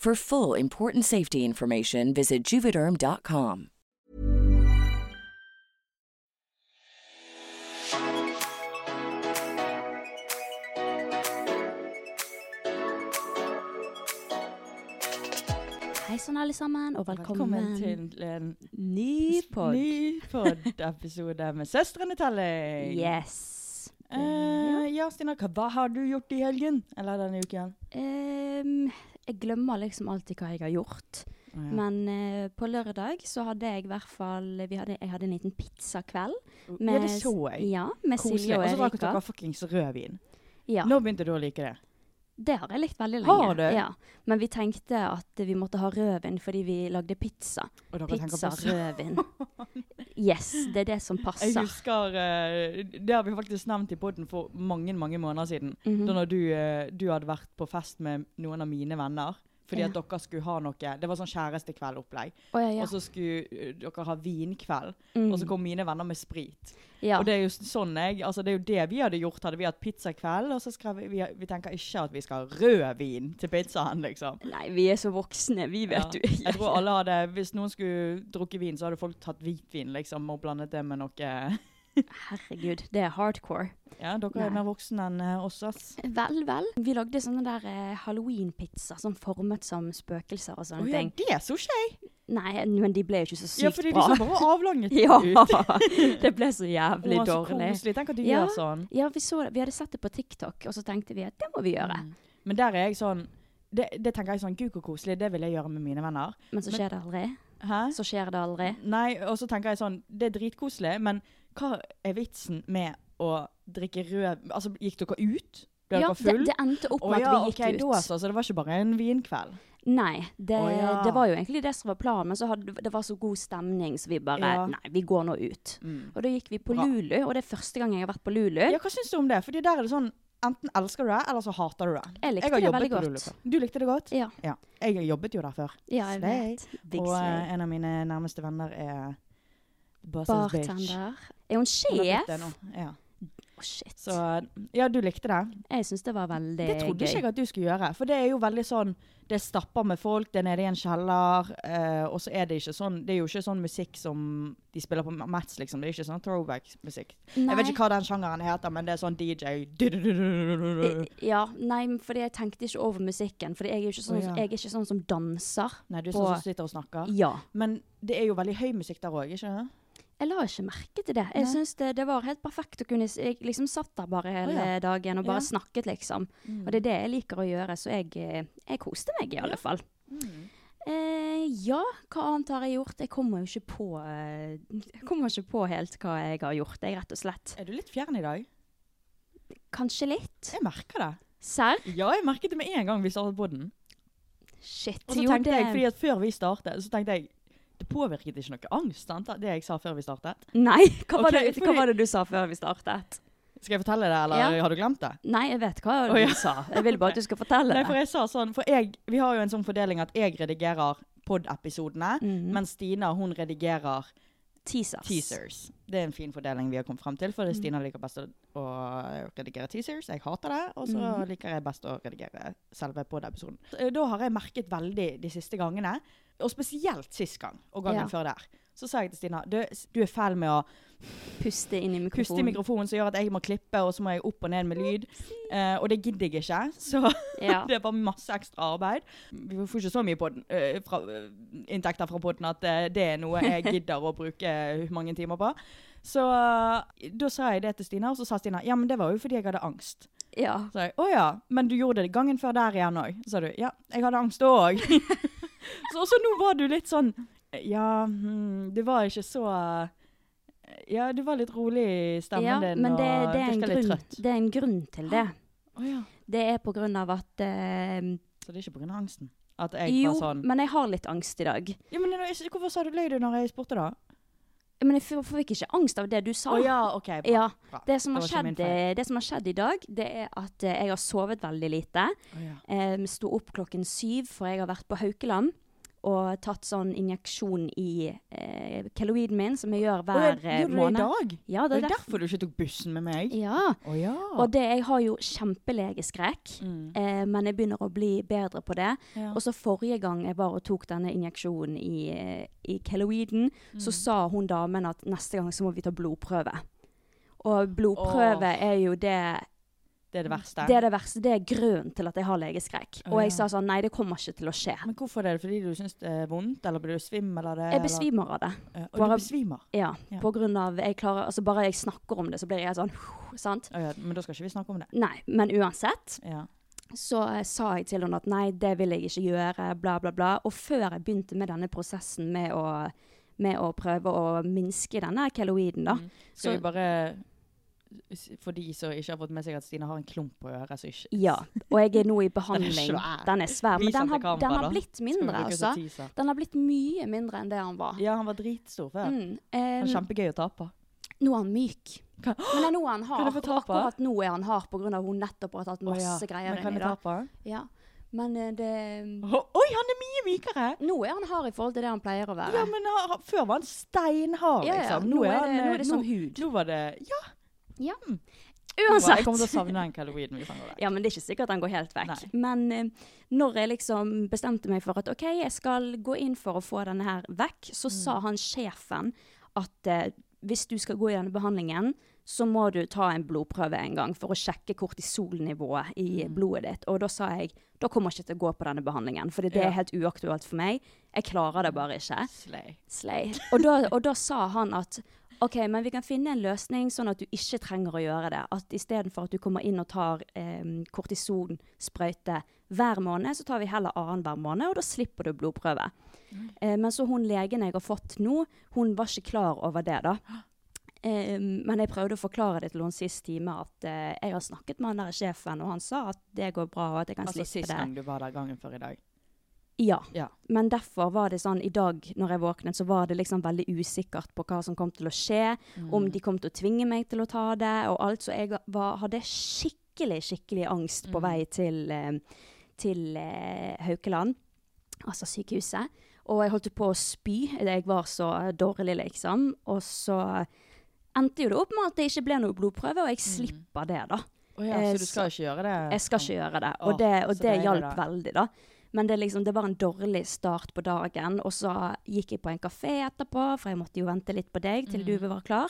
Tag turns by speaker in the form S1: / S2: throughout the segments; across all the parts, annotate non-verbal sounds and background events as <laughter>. S1: For full important safety information, visit juvederm.com.
S2: Hei sann, alle sammen, og velkommen,
S3: Velkommen til en
S2: ny pod.
S3: ny <laughs> pod-episode med Søstrene Telling.
S2: Yes.
S3: Eh, ja, Stina, hva, hva har du gjort i helgen? Eller denne uken?
S2: Ehm, jeg glemmer liksom alltid hva jeg har gjort.
S3: Å, ja.
S2: Men eh, på lørdag så hadde jeg i hvert fall vi hadde, Jeg hadde en liten pizzakveld.
S3: ja, det så jeg.
S2: Ja, med
S3: Koselig.
S2: Silje og
S3: Og så drakk
S2: Erika.
S3: dere fuckings rødvin.
S2: Ja,
S3: Nå begynte du å like det.
S2: det har jeg likt veldig lenge.
S3: Har du?
S2: Ja. Men vi tenkte at vi måtte ha rødvin fordi vi lagde pizza.
S3: Og dere tenker
S2: Pizza
S3: på sø-
S2: rødvin.
S3: <laughs>
S2: Yes, det er det som
S3: Jeg
S2: passer.
S3: husker eh, Det har vi faktisk nevnt i poden for mange mange måneder siden.
S2: Mhm.
S3: Da når du, eh, du hadde vært på fest med noen av mine venner. Fordi
S2: Ja.
S3: at dere skulle ha noe Det var sånn kjærestekveldopplegg.
S2: Å, ja, ja.
S3: Og så skulle eh, dere ha vinkveld.
S2: Mm.
S3: Og så kom mine venner med sprit.
S2: ja.
S3: Og det er jo sånn jeg, altså det er jo det vi hadde gjort, hadde vi hatt pizzakveld, og så skrev vi, vi, vi tenker ikke at vi skal ha rødvin til pizzaen, liksom.
S2: Nei, vi er så voksne, vi vet
S3: Ja.
S2: jo ikke.
S3: Jeg tror alle hadde, hvis noen skulle drukke vin, så hadde folk tatt hvitvin, liksom, og blandet det med noe.
S2: Herregud, det er hardcore.
S3: Ja, dere er
S2: Nei.
S3: mer voksne enn eh, oss, ass.
S2: Vel, vel. Vi lagde sånne der eh, halloween-pizza sånn formet som spøkelser og sånne
S3: Å ja,
S2: ting.
S3: det så ikke jeg.
S2: Nei, men de ble jo ikke så sykt
S3: Ja, fordi du
S2: bra.
S3: så bare avlanget
S2: <laughs> ja,
S3: <laughs> ut.
S2: det ble så jævlig
S3: Å, så
S2: dårlig.
S3: koselig. Tenk at du
S2: Ja.
S3: gjør sånn.
S2: Ja, vi, så, det- vi hadde sett det på TikTok, og så tenkte vi at det må vi gjøre.
S3: Men der er jeg sånn, det, det tenker jeg sånn, gud hvor koselig, det vil jeg gjøre med mine venner.
S2: Men så
S3: Men-
S2: skjer det aldri.
S3: Hæ?
S2: Så skjer det aldri.
S3: Nei, og så tenker jeg sånn, det er dritkoselig, men hva er vitsen med å drikke rød... Altså, gikk dere ut? Ble
S2: Ja,
S3: dere
S2: det,
S3: full?
S2: det endte opp
S3: Å
S2: med
S3: ja,
S2: at vi
S3: ok,
S2: gikk
S3: da
S2: ut.
S3: altså, så det var ikke bare en vinkveld?
S2: Nei, det,
S3: Å ja.
S2: det var jo egentlig det som var planen, men så hadde, det var så god stemning, så vi bare
S3: Ja.
S2: Nei, vi går nå ut. Og da gikk vi på
S3: Bra.
S2: Lulu, og det er første gang jeg har vært på Lulu.
S3: Ja, hva syns du om det? Fordi der er det sånn, enten elsker du det, eller så hater du det.
S2: Jeg likte
S3: har
S2: det
S3: jobbet
S2: veldig
S3: på Lulu
S2: godt.
S3: før. Du likte det godt?
S2: Ja,
S3: Ja. Jeg jobbet jo der før.
S2: ja jeg
S3: Slay.
S2: vet. Big
S3: Og
S2: slay.
S3: eh, en av mine nærmeste venner er Boss's bitch.
S2: Bartender. Er hun
S3: Hun har
S2: sjef?
S3: blitt det nå, Ja.
S2: Å, shit.
S3: Så ja, du likte det.
S2: jeg syns det var veldig
S3: Det trodde
S2: gøy.
S3: ikke jeg at du skulle gjøre. For det er jo veldig sånn Det er stapper med folk, det er nede i en kjeller. eh, og så er det ikke sånn Det er jo ikke sånn musikk som de spiller på Mats, liksom. Det er ikke sånn throwback-musikk. Jeg vet ikke hva den sjangeren heter, men det er sånn DJ
S2: eh, Ja, nei, men fordi jeg tenkte ikke over musikken. Fordi jeg er jo ikke sånn,
S3: Å, ja.
S2: jeg er ikke sånn som danser.
S3: Nei, du er
S2: På-
S3: sånn som sitter og snakker.
S2: Ja.
S3: Men det er jo veldig høy musikk der òg, ikke sant?
S2: Jeg la ikke merke til det. Jeg
S3: Nei.
S2: syns det, det var helt perfekt å kunne s- Jeg liksom satt der bare hele
S3: Å, ja.
S2: dagen og bare
S3: Ja.
S2: snakket, liksom. Og det er det jeg liker å gjøre, så jeg, eh, jeg koste meg i alle fall.
S3: Mm.
S2: Eh, ja, hva annet har jeg gjort? Jeg kommer jo ikke på eh, Jeg kommer ikke på helt hva jeg har gjort, jeg, rett og slett.
S3: Er du litt fjern i dag?
S2: Kanskje litt.
S3: Jeg merker det.
S2: Serr?
S3: Ja, jeg merket det med en gang vi startet på den.
S2: Shit.
S3: Og så
S2: jo,
S3: tenkte
S2: det-
S3: jeg, fordi at før vi startet, så tenkte jeg Det påvirket ikke noe angst, sant? Det jeg sa før vi startet.
S2: Nei, <laughs> hva var,
S3: Ok,
S2: det, hva
S3: fordi-
S2: var det du sa før vi startet?
S3: Skal jeg fortelle det, eller
S2: Ja.
S3: har du glemt det?
S2: Nei, jeg vet hva
S3: Å, ja.
S2: du sa. Jeg vil bare at du skal fortelle
S3: Nei,
S2: <laughs> det.
S3: for jeg sa sånn, for jeg, vi har jo en sånn fordeling at jeg redigerer pod-episodene,
S2: Mhm.
S3: mens Stina, hun redigerer
S2: Teasers.
S3: teasers. Det er en fin fordeling vi har kommet frem til, for Stina liker best å, å redigere teasers, jeg hater det, og så liker jeg best å redigere selve pod-episoden. Så, eh, Da har jeg merket veldig de siste gangene, og spesielt sist gang, og gangen
S2: Ja.
S3: før der. Så sa jeg til Stina, du, du er feil med å
S2: Puste inn i
S3: puste i
S2: mikrofonen.
S3: mikrofonen som gjør at jeg må klippe, og så må jeg opp og ned med lyd. Eh, og det gidder jeg ikke, så
S2: <laughs> Ja.
S3: det var masse ekstra arbeid. Vi får ikke så mye podden, eh, fra, eh, inntekter fra podden at eh, det er noe
S2: <laughs>
S3: jeg gidder å bruke eh, mange timer på. Så eh, da sa jeg det til Stina, og så sa Stina ja, men det var jo fordi jeg hadde angst.
S2: ja.
S3: Så sa jeg å ja, men du gjorde det gangen før der igjen òg. Så sa du ja, jeg hadde angst òg.
S2: <laughs>
S3: så også nå var du litt sånn ja, hmm, du var ikke så eh, ja, du var litt rolig i stemmen
S2: ja,
S3: din
S2: men det,
S3: og
S2: det, er en
S3: virka litt
S2: grunn,
S3: trøtt.
S2: det er en grunn til det.
S3: Å ja.
S2: Det er på grunn av at eh,
S3: Så det er ikke pga. angsten? At jeg
S2: Jo,
S3: var sånn
S2: men jeg har litt angst i dag.
S3: ja, men jeg- Hvorfor sa du løy du når jeg spurte, da?
S2: Men jeg f- fikk ikke angst av det du sa.
S3: ja, OK. Bra.
S2: Ja,
S3: bra.
S2: det, som
S3: Det
S2: har
S3: var ikke min
S2: skjedd, eh, det som har skjedd i dag, det er at eh, jeg har sovet veldig lite.
S3: Å ja.
S2: Um, sto opp klokken syv, for jeg har vært på Haukeland og tatt sånn injeksjon i eh, keloiden min, som jeg gjør
S3: Å ja,
S2: hver eh,
S3: Gjorde du det i
S2: måned.
S3: dag?
S2: Ja,
S3: Det er
S2: derf-
S3: derfor du ikke tok bussen med meg?
S2: Ja,
S3: Å ja.
S2: og det, jeg har jo kjempelegeskrekk,
S3: Mm.
S2: eh, men jeg begynner å bli bedre på det.
S3: Ja.
S2: Og så forrige gang jeg var og tok denne injeksjonen i, eh, i keloiden,
S3: Mm.
S2: så sa hun damen at neste gang så må vi ta blodprøve. Og blodprøve er jo det
S3: Det er det verste.
S2: Det er det verste. Det er grunnen til at jeg har legeskrekk.
S3: Å,
S2: Og jeg
S3: ja.
S2: sa sånn Nei, det kommer ikke til å skje.
S3: Men hvorfor er det? Fordi du syns det er vondt, eller blir du svimmel av det?
S2: Jeg besvimer av det.
S3: Eller? Og
S2: Bare-
S3: du besvimer?
S2: Ja,
S3: Ja.
S2: på grunn av jeg klarer, altså Bare jeg snakker om det, så blir jeg sånn sant?
S3: Å ja, men da skal ikke vi snakke om det.
S2: Nei, men uansett
S3: Ja.
S2: så eh, sa jeg til henne at nei, det vil jeg ikke gjøre, bla, bla, bla. Og før jeg begynte med denne prosessen med å, med å prøve å minske denne keloiden, da.
S3: Mm. Skal
S2: Så-
S3: vi bare s- For de som ikke har fått med seg at Stine har en klump på øret, så ikke
S2: <laughs> Ja. Og jeg er nå i
S3: Den <laughs>
S2: behandling.
S3: er svær.
S2: Den er svær.
S3: Vis
S2: Men
S3: den
S2: den
S3: til
S2: har,
S3: kamera,
S2: den har
S3: da.
S2: blitt
S3: Skal vi
S2: mindre,
S3: bruke
S2: altså.
S3: som teaser?
S2: Den har blitt mye mindre enn det han var.
S3: Ja, han var dritstor før.
S2: Mm.
S3: Han
S2: Eh,
S3: er kjempegøy å ta på.
S2: Nå er han myk.
S3: Hva-
S2: Men det er nå er han
S3: Kan
S2: hard.
S3: jeg få ta
S2: Og
S3: på?
S2: akkurat nå er han hard pga. at hun nettopp har tatt
S3: Å
S2: masse
S3: ja.
S2: greier
S3: Men kan
S2: inn i
S3: jeg ta
S2: det.
S3: på?
S2: Ja. Men eh, det
S3: Å, Oi, han er mye mykere!
S2: Nå er han hard i forhold til det han pleier å være.
S3: Ja, men ha- ha- før var han steinhard,
S2: Ja, ja.
S3: liksom.
S2: Nå er det-
S3: han,
S2: nå er
S3: eh,
S2: det som hud.
S3: Nå var det Ja, jeg kommer til å
S2: Uansett!
S3: savne den kalorien vi fanger der.
S2: Ja, men Det er ikke sikkert han går helt vekk. Men eh, når jeg liksom bestemte meg for at OK, jeg skal gå inn for å få denne her vekk, så sa han sjefen at eh, hvis du skal gå i denne behandlingen, så må du ta en blodprøve en gang for å sjekke kortisolnivået i blodet ditt. Og da sa jeg da kommer jeg ikke til å gå på denne behandlingen, for det
S3: Ja.
S2: er helt uaktuelt for meg. Jeg klarer det bare ikke.
S3: Slay.
S2: Slay. Og da, og da sa han at OK, men vi kan finne en løsning sånn at du ikke trenger å gjøre det. At istedenfor at du kommer inn og tar eh, kortisonsprøyte hver måned, så tar vi heller annenhver måned, og da slipper du blodprøve. Eh, men så hun legen jeg har fått nå, hun var ikke klar over det, da. Eh, men jeg prøvde å forklare det til henne sist time at eh, jeg har snakket med han der sjefen, og han sa at det går bra, og at jeg kan
S3: Altså
S2: slippe
S3: sist
S2: det.
S3: gang du var der, gangen før i dag.
S2: Ja.
S3: Ja.
S2: Men derfor var det sånn i dag når jeg våknet, så var det liksom veldig usikkert på hva som kom til å skje.
S3: Mm.
S2: Om de kom til å tvinge meg til å ta det og alt. Så jeg var, hadde skikkelig, skikkelig angst på vei til, eh, til eh, Haukeland, altså sykehuset. Og jeg holdt jo på å spy. Jeg var så dårlig, liksom. Og så endte jo det opp med at det ikke ble noe blodprøve, og jeg slipper det, da.
S3: Mm. Å ja,
S2: Eh,
S3: så du skal ikke gjøre det?
S2: Jeg skal ikke gjøre det. Og
S3: Åh,
S2: det, og
S3: så
S2: det
S3: deilig,
S2: hjalp
S3: da.
S2: veldig, da. Men det, er liksom, det var en dårlig start på dagen. Og så gikk jeg på en kafé etterpå, for jeg måtte jo vente litt på deg til
S3: Mm.
S2: du var klar.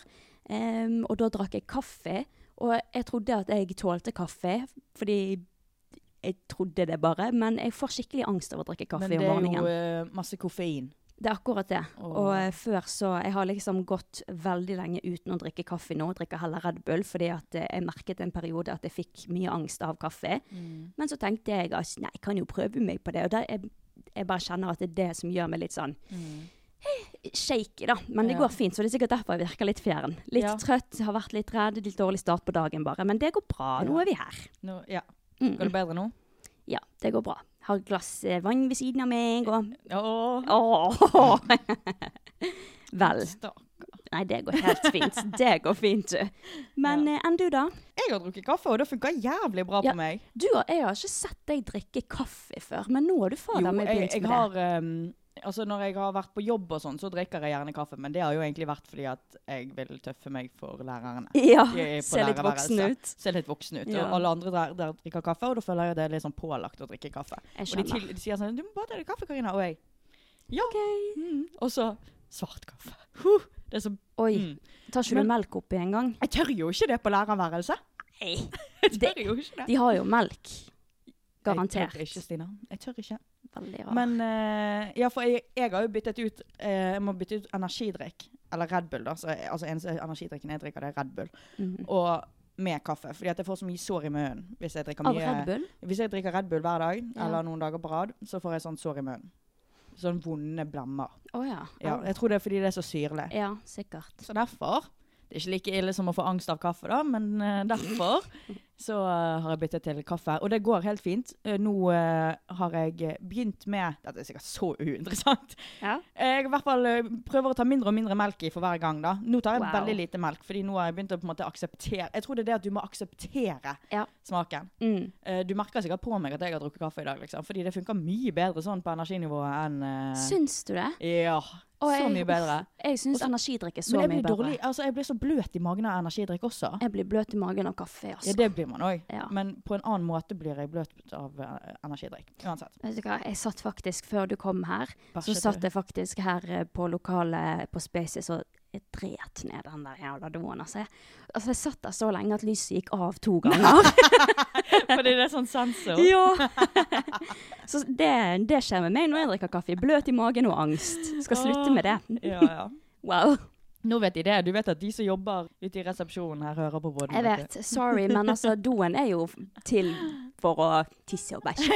S2: Em, og da drakk jeg kaffe. Og jeg trodde at jeg tålte kaffe, fordi jeg trodde det bare. Men jeg får skikkelig angst av å drikke kaffe
S3: Men det
S2: om
S3: er jo
S2: morgenen.
S3: eh, masse koffein.
S2: Det er akkurat det.
S3: Åh.
S2: Og eh, før så Jeg har liksom gått veldig lenge uten å drikke kaffe nå. Drikker heller Red Bull, fordi at eh, jeg merket en periode at jeg fikk mye angst av kaffe.
S3: mm,
S2: Men så tenkte jeg at nei, jeg kan jo prøve meg på det. Og der, jeg, jeg bare kjenner at det er det som gjør meg litt sånn
S3: mm.
S2: eh, shaky, da. Men det
S3: Ja.
S2: går fint, så det er sikkert derfor jeg virker litt fjern. Litt
S3: Ja.
S2: trøtt, har vært litt redd, litt dårlig start på dagen bare. Men det går bra. Nå
S3: Ja.
S2: er vi her.
S3: Nå, ja.
S2: Mm.
S3: Går det bedre nå?
S2: Ja, det går bra. Har et glass eh, vann ved siden av meg og
S3: Åh,
S2: Åh! <laughs> Vel.
S3: stakkars.
S2: Nei, det går helt fint.
S3: <laughs>
S2: Det går fint, du. Men eh, enn du, da?
S3: Jeg har drukket kaffe, og det funka jævlig bra
S2: Ja,
S3: på meg.
S2: Du, har- jeg har ikke sett deg drikke kaffe før, men nå har du
S3: Jo,
S2: fader meg
S3: jeg,
S2: begynt
S3: jeg
S2: med det.
S3: har ehm, Altså Når jeg har vært på jobb og sånn, så drikker jeg gjerne kaffe, men det har jo egentlig vært fordi at jeg vil tøffe meg for lærerne.
S2: Ja,
S3: Jeg er på
S2: ser litt voksen
S3: lærerværelset.
S2: ut.
S3: Ser litt voksen ut.
S2: Ja.
S3: Og alle andre der, der drikker kaffe, og da føler jeg det er litt sånn pålagt å drikke kaffe.
S2: Jeg
S3: Og de,
S2: skjønner.
S3: til, de sier sånn 'Du må bare ta deg kaffe, Karina.' Og jeg Ja.
S2: Ok.
S3: Mm. Og så svart kaffe. Huh, Det er så,
S2: Oi.
S3: mm.
S2: Tar ikke
S3: Men-
S2: du melk oppi en gang?
S3: Jeg tør jo ikke det på lærerværelset.
S2: Nei.
S3: <laughs> Jeg
S2: Det-
S3: tør jo ikke det.
S2: De har jo melk.
S3: Jeg
S2: Garantert.
S3: tør ikke, Stina. Jeg tør ikke.
S2: Veldig rart.
S3: Men eh, ja, for jeg, jeg har jo byttet ut eh, Jeg må bytte ut energidrikk. Eller Red Bull, da. Så, jeg- altså eneste energidrikken jeg drikker, det er Red Bull.
S2: Mhm.
S3: Og med kaffe. Fordi at jeg får så mye sår i munnen hvis jeg drikker
S2: Av
S3: mye
S2: Red Bull?
S3: Hvis jeg drikker Red Bull hver dag,
S2: Ja.
S3: eller noen dager på rad, så får jeg sånn sår i munnen. Sånn vonde blemmer.
S2: Å ja.
S3: Ja, jeg tror det er fordi det er så syrlig.
S2: Ja, sikkert.
S3: Så derfor Det er ikke like ille som å få angst av kaffe, da, men eh, derfor så eh, har jeg byttet til kaffe. Og det går helt fint. Eh, nå eh, har jeg begynt med Dette er sikkert så uinteressant.
S2: Ja.
S3: Jeg i hvert fall eh, prøver å ta mindre og mindre melk i for hver gang. da. Nå tar jeg
S2: Wow.
S3: veldig lite melk, fordi nå har jeg begynt å på en måte akseptere Jeg tror det er det at du må akseptere
S2: Ja.
S3: smaken.
S2: Mm.
S3: Eh, Du merker sikkert på meg at jeg har drukket kaffe i dag, liksom. Fordi det funker mye bedre sånn på energinivået enn eh,
S2: Syns du det?
S3: Ja.
S2: Å,
S3: så
S2: jeg-
S3: mye bedre.
S2: uff, Jeg syns
S3: Også-
S2: energidrikk er så
S3: Men jeg
S2: mye bedre.
S3: blir dårlig, altså jeg blir så bløt i magen av energidrikk også.
S2: Jeg blir bløt i magen av kaffe, altså.
S3: Ja, det blir man òg.
S2: Ja.
S3: Men på en annen måte blir jeg bløt av eh, energidrikk. Uansett.
S2: Vet du hva, jeg satt faktisk, før du kom her, så
S3: Bæsjet du?
S2: satt jeg faktisk her eh, på lokalet på Spaces og jeg dret ned den der jævla doen. Altså, jeg- altså, jeg satt der så lenge at lyset gikk av to
S3: <laughs>
S2: ganger.
S3: <laughs> Fordi det er sånn sensor. <laughs>
S2: ja! så det, det skjer med meg når jeg drikker kaffe. Bløt i magen og angst. Skal slutte med det.
S3: Ja, ja.
S2: Wow.
S3: Nå vet de det. Du vet at de som jobber ute i resepsjonen her, hører på både
S2: Jeg vet, sorry, men altså, doen er jo til for å tisse og bæsje.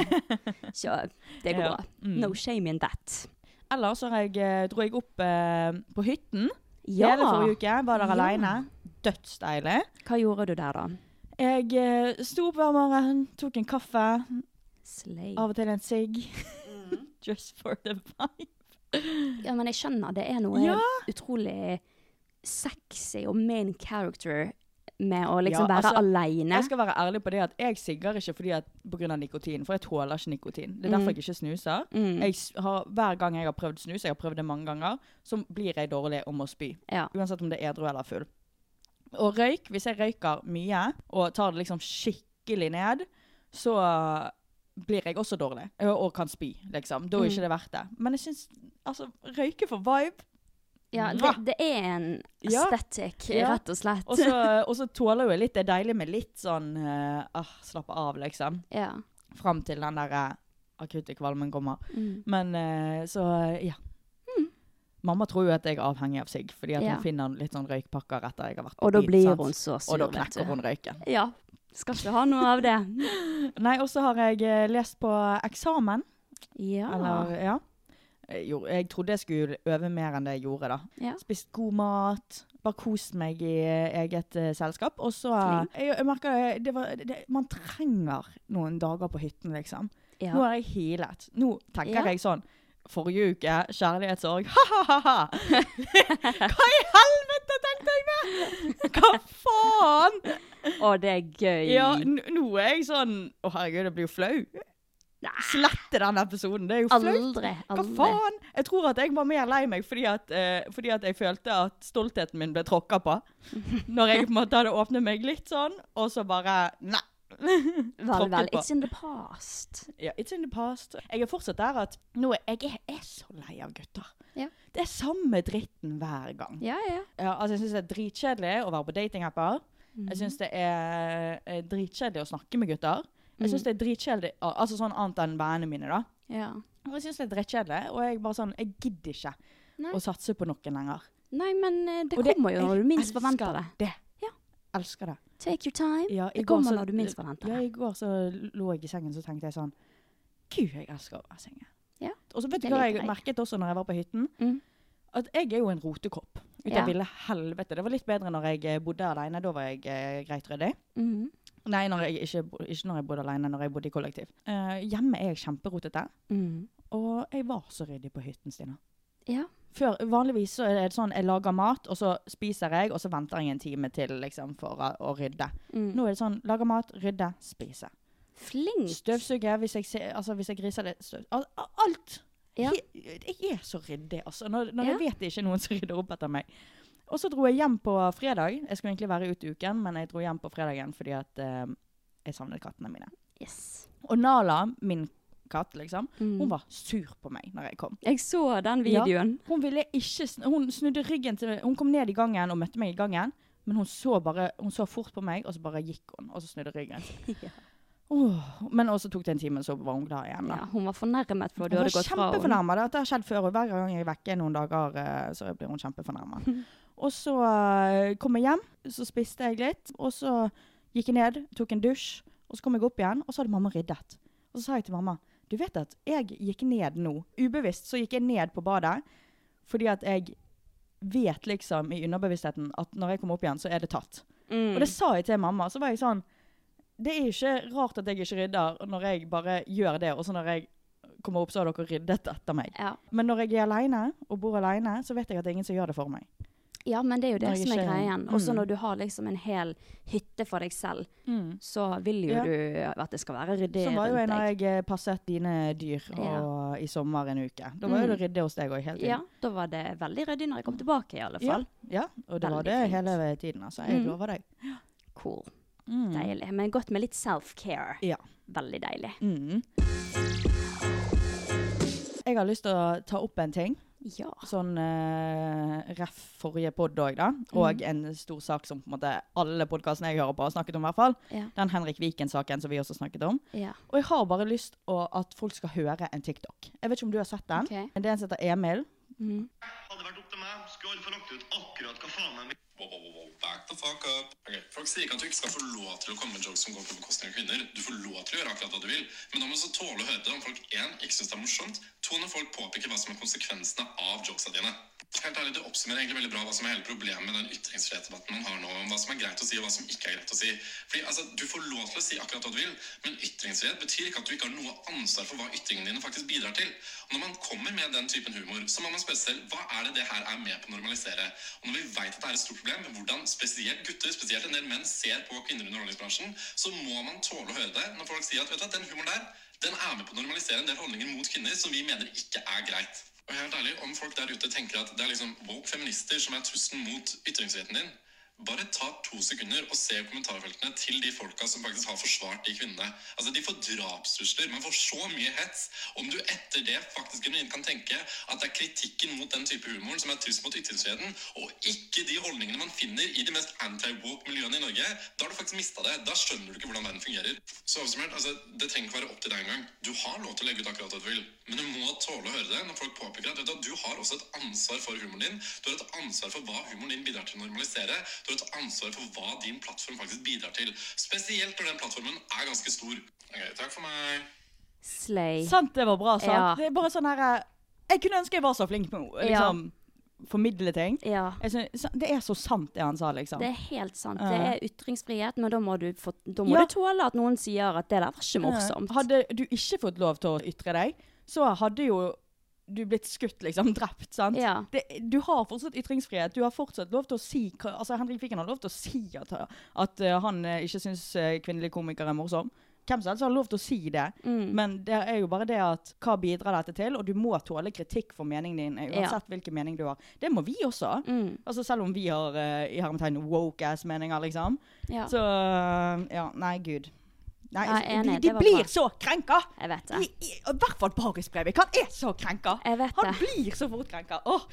S2: Så det går
S3: Ja.
S2: bra.
S3: Mm.
S2: No shame in that.
S3: Ellers så har jeg, eh, dro jeg opp eh, på hytten
S2: Ja!
S3: hele forrige uke. Var der
S2: Ja.
S3: alene. Dødsdeilig.
S2: Hva gjorde du der, da?
S3: Jeg eh, sto opp hver morgen, tok en kaffe,
S2: Mm. Slay.
S3: av og til en sigg.
S2: Mm.
S3: <laughs> Just for the vibe.
S2: Ja, men jeg skjønner. Det er noe
S3: Ja.
S2: utrolig sexy og main character med å liksom
S3: Ja,
S2: være
S3: altså,
S2: aleine.
S3: Jeg skal være ærlig på det at jeg sigger ikke fordi at, på grunn av nikotin, for jeg tåler ikke nikotin. Det er derfor jeg ikke snuser.
S2: Mm.
S3: Jeg s- har, hver gang jeg har prøvd snus, jeg har prøvd det mange ganger, så blir jeg dårlig om å spy.
S2: Ja.
S3: Uansett om det er edru eller full. Og røyk, hvis jeg røyker mye, og tar det liksom skikkelig ned, så blir jeg også dårlig. Og, og kan spy, liksom. Da er
S2: Mm.
S3: ikke det verdt det. Men jeg syns Altså, røyke for vibe.
S2: <laughs> ja det,
S3: Mwah!
S2: det er en
S3: Ja.
S2: aesthetic,
S3: Ja.
S2: rett og slett.
S3: Og så, og så tåler jo jeg litt Det er deilig med litt sånn eh, ah, Slappe av, liksom.
S2: <laughs> ja.
S3: Fram til den der eh, akutte kvalmen kommer.
S2: Mm.
S3: Men eh, så, eh, ja. Mamma tror jo at jeg er avhengig av sigg, fordi at
S2: Ja.
S3: hun finner litt sånn røykpakker etter jeg har vært på
S2: Og da
S3: byen,
S2: blir
S3: sant?
S2: hun så sur,
S3: Og da knekker hun røyken.
S2: Ja. Skal ikke ha noe av det.
S3: Nei, og så har jeg eh, lest på eksamen.
S2: <laughs> Ja.
S3: Eller, ja. Jeg, gjorde, jeg trodde jeg skulle øve mer enn det jeg gjorde, da.
S2: Ja.
S3: Spist god mat, bare kost meg i eh, eget eh, selskap. Og så eh, jeg, jeg merker det, det var, det, Man trenger noen dager på hytten, liksom.
S2: ja.
S3: Nå har jeg healet. Nå tenker
S2: Ja.
S3: jeg sånn Forrige uke, kjærlighetssorg. <laughs> Ha-ha-ha!
S2: <laughs>
S3: Hva i helvete tenkte jeg med?! Hva faen?!
S2: Og det er gøy.
S3: Ja, n- nå er jeg sånn Å, herregud, jeg blir jo flau.
S2: Nei.
S3: Slette den episoden. Det er jo flaut.
S2: Aldri.
S3: Hva
S2: aldri.
S3: faen? Jeg tror at jeg var mer lei meg fordi at, eh, fordi at jeg følte at stoltheten min ble tråkka
S2: <laughs>
S3: på. Når jeg på en måte hadde åpnet meg litt sånn, og så bare Nei.
S2: Vel, vel.
S3: Tråkket på.
S2: It's in the past.
S3: Ja, it's in the past. Jeg er fortsatt der at nå er jeg er, er så lei av gutter.
S2: Ja.
S3: Det er samme dritten hver gang.
S2: Ja, ja.
S3: Ja, altså, jeg syns det er dritkjedelig å være på datingapper.
S2: Mm.
S3: Jeg
S2: Mhm.
S3: syns det er eh, dritkjedelig å snakke med gutter. Jeg syns det er dritkjedelig al- Altså sånn annet enn vennene mine, da.
S2: Mm. ja.
S3: Og jeg syns det er drittkjedelig, og jeg bare sånn Jeg gidder ikke
S2: Nei.
S3: å satse på noen lenger.
S2: Nei, men eh, det
S3: Og
S2: kommer jo når du minst
S3: elsker
S2: forventer det.
S3: det.
S2: Ja.
S3: Elsker det.
S2: Take your time.
S3: Ja, i
S2: det
S3: går
S2: kommer
S3: så-
S2: når du minst forventer
S3: Ja,
S2: det.
S3: i går så lå jeg i sengen så tenkte jeg sånn Gud, jeg elsker å være i sengen.
S2: Ja,
S3: Og så vet du
S2: jeg
S3: hva
S2: liker deg.
S3: jeg merket også når jeg var på hytten?
S2: Mm.
S3: At jeg er jo en rotekopp. Ut av
S2: Ja.
S3: ville helvete. Det var litt bedre når jeg eh, bodde alene. Da var jeg eh, greit ryddig.
S2: Mhm.
S3: Nei, når jeg, ikke, bo- ikke når jeg bodde alene, når jeg bodde i kollektiv. Eh, hjemme er jeg kjemperotete.
S2: Mhm.
S3: Og jeg var så ryddig på hytten, Stina.
S2: Ja.
S3: Før, vanligvis så er det sånn jeg lager mat, og så spiser jeg, og så venter jeg en time til liksom, for å, å rydde.
S2: Mm.
S3: Nå er det sånn lager mat, rydde, spise.
S2: Flink.
S3: Støvsuge hvis jeg, ser, altså, hvis jeg griser litt støv... al- al- Alt!
S2: Ja.
S3: Jeg, jeg er så ryddig, altså. Når, når
S2: Ja.
S3: jeg vet det ikke er noen som rydder opp etter meg. Og så dro jeg hjem på fredag. Jeg skulle egentlig være ute i uken, men jeg dro hjem på fredagen fordi at eh, jeg savnet kattene mine.
S2: Yes.
S3: Og Nala, min katt, liksom.
S2: Mm.
S3: Hun var sur på meg når jeg kom.
S2: Jeg så den
S3: Ja.
S2: videoen.
S3: Hun, ville ikke, sn- hun snudde ryggen til Hun kom ned i gangen og møtte meg i gangen. Men hun så, bare, hun så fort på meg, og så bare gikk hun. Og så snudde ryggen.
S2: Ja.
S3: Åh, men også tok det en time, så var hun glad igjen.
S2: Ja,
S3: Da.
S2: hun var fornærmet for at du
S3: Hun var
S2: hadde gått fra henne.
S3: kjempefornærma. Dette har skjedd før, og hver gang jeg er vekke noen dager, eh, så blir hun kjempefornærma.
S2: <laughs>
S3: Og så eh, kom jeg hjem, så spiste jeg litt, og så gikk jeg ned, tok en dusj, og så kom jeg opp igjen, og så hadde mamma ryddet. Og så sa jeg til mamma, du vet at jeg gikk ned nå, ubevisst så gikk jeg ned på badet, fordi at jeg vet liksom i underbevisstheten at når jeg kommer opp igjen, så er det tatt.
S2: Mm.
S3: Og det sa jeg til mamma, så var jeg sånn, det er ikke rart at jeg ikke rydder når jeg bare gjør det, og så når jeg kommer opp så har dere ryddet etter meg.
S2: ja.
S3: Men når jeg er alene, og bor alene, så vet jeg at det er ingen som gjør det for meg.
S2: ja, men det er jo det
S3: Når jeg
S2: som er
S3: ikke-
S2: greien. Også
S3: Mm.
S2: når du har liksom en hel hytte for deg selv, så vil jo
S3: Ja.
S2: du at det skal være ryddig
S3: Sånn var jo jeg
S2: rundt
S3: når
S2: deg.
S3: jeg eh, passet dine dyr og, i sommer en uke. Da var jo det rydde hos deg òg hele
S2: Mm. Ja,
S3: tiden.
S2: da var det veldig ryddig når jeg kom tilbake, i alle
S3: Mm. Ja,
S2: fall.
S3: ja, og det
S2: Veldig
S3: var det
S2: fint.
S3: hele tiden. Altså. Jeg
S2: Mm.
S3: lover deg.
S2: Cool.
S3: Mm.
S2: Deilig. Men godt med litt self-care.
S3: Ja.
S2: Veldig deilig.
S3: Mm. Jeg har lyst til å ta opp en ting,
S2: Ja.
S3: sånn eh, ref forrige podd òg, da.
S2: Mhm.
S3: Og en stor sak som på en måte alle podkastene jeg hører på, har snakket om, i hvert fall.
S2: Ja.
S3: Den Henrik Viken-saken som vi også snakket om.
S2: ja.
S3: Og jeg har bare lyst til at folk skal høre en TikTok. Jeg vet ikke om du har sett den.
S2: Ok.
S3: Men Det er en som heter Emil.
S2: Mm.
S4: Hadde det vært opp til meg, skulle alle få lagt ut akkurat hva faen jeg vil.
S5: Wow, wow, wow, wow. Back the fuck up. Ok, Folk sier ikke at du ikke skal få lov til å komme med jokes som går på bekostning av kvinner. Du får lov til å gjøre akkurat hva du vil, men da må du også tåle å høre det om folk en, ikke syns det er morsomt, to, når folk påpeker hva som er konsekvensene av jokesa dine. Helt ærlig, Det oppsummerer egentlig veldig bra hva som er hele problemet med den ytringsfrihetsdebatten man har nå, om hva som er greit å si og hva som ikke er greit å si. Fordi altså, Du får lov til å si akkurat hva du vil, men ytringsfrihet betyr ikke at du ikke har noe ansvar for hva ytringene dine faktisk bidrar til. Og Når man kommer med den typen humor, så må man spørre seg selv hva er det det her er med på å normalisere. Og Når vi vet at det er et stort problem, hvordan spesielt gutter, spesielt en del menn, ser på kvinner i underholdningsbransjen, så må man tåle å høre det når folk sier at vet du, hva, den humoren der den er med på å normalisere en del holdninger mot kvinner som vi mener ikke er greit. Og helt ærlig, Om folk der ute tenker at det er liksom woke feminister som er trusselen mot ytringsfriheten din, bare ta to sekunder og se kommentarfeltene til de folka som faktisk har forsvart de kvinnene. Altså, De får drapstrusler. Man får så mye hets. Om du etter det faktisk genuint kan tenke at det er kritikken mot den type humoren som er trussel mot ytringsfriheten, og ikke de holdningene man finner i de mest anti-woke-miljøene i Norge, da har du faktisk mista det. Da skjønner du ikke hvordan verden fungerer. Så oppsummert, altså, Det trenger ikke være opp til deg engang. Du har lov til å legge ut akkurat hva du vil, men du må tåle å høre det når folk påpeker at vet du, hva, du har også et ansvar for humoren din. Du har et ansvar for hva humoren din bidrar til å normalisere. Du har et ansvar for hva din plattform faktisk bidrar til. Spesielt når den plattformen er ganske stor. Ok, takk for meg.
S2: Slay.
S3: Sant det var bra, sant?
S2: Ja.
S3: Det er bare sånn her eh, Jeg kunne ønske jeg var så flink på å liksom, formidle ting.
S2: Ja.
S3: Jeg synes, det er så sant det han sa, liksom.
S2: Det er helt sant.
S3: Ja.
S2: Det er ytringsfrihet, men da må du, få, da må
S3: Ja.
S2: du tåle at noen sier at det der var ikke morsomt.
S3: Ja. Hadde du ikke fått lov til å ytre deg, så hadde jo du blitt skutt, liksom. <laughs> Drept, sant?
S2: Ja.
S3: Det, du har fortsatt ytringsfrihet. Du har fortsatt lov til å si hva- Altså, Henrik Fiken har lov til å si at, at eh, han eh, ikke syns eh, kvinnelige komikere er morsom. Hvem som helst har lov til å si det.
S2: Mm.
S3: Men det er jo bare det at hva bidrar dette til? Og du må tåle kritikk for meningen din, eh,
S2: Ja.
S3: uansett hvilken mening du har. Det må vi også.
S2: Mm.
S3: Altså Selv om vi har eh, i hermetegn woke-ass-meninger, liksom.
S2: Ja.
S3: Så eh, Ja, nei, gud. Nei, altså,
S2: Nei, jeg er
S3: de,
S2: enig,
S3: de
S2: det var
S3: blir
S2: bra.
S3: så krenka!
S2: Jeg vet
S3: I,
S2: det.
S3: i, I hvert fall Baris Breivik. Han er så krenka!
S2: Jeg vet
S3: Han
S2: det.
S3: blir så fort krenka. Åh,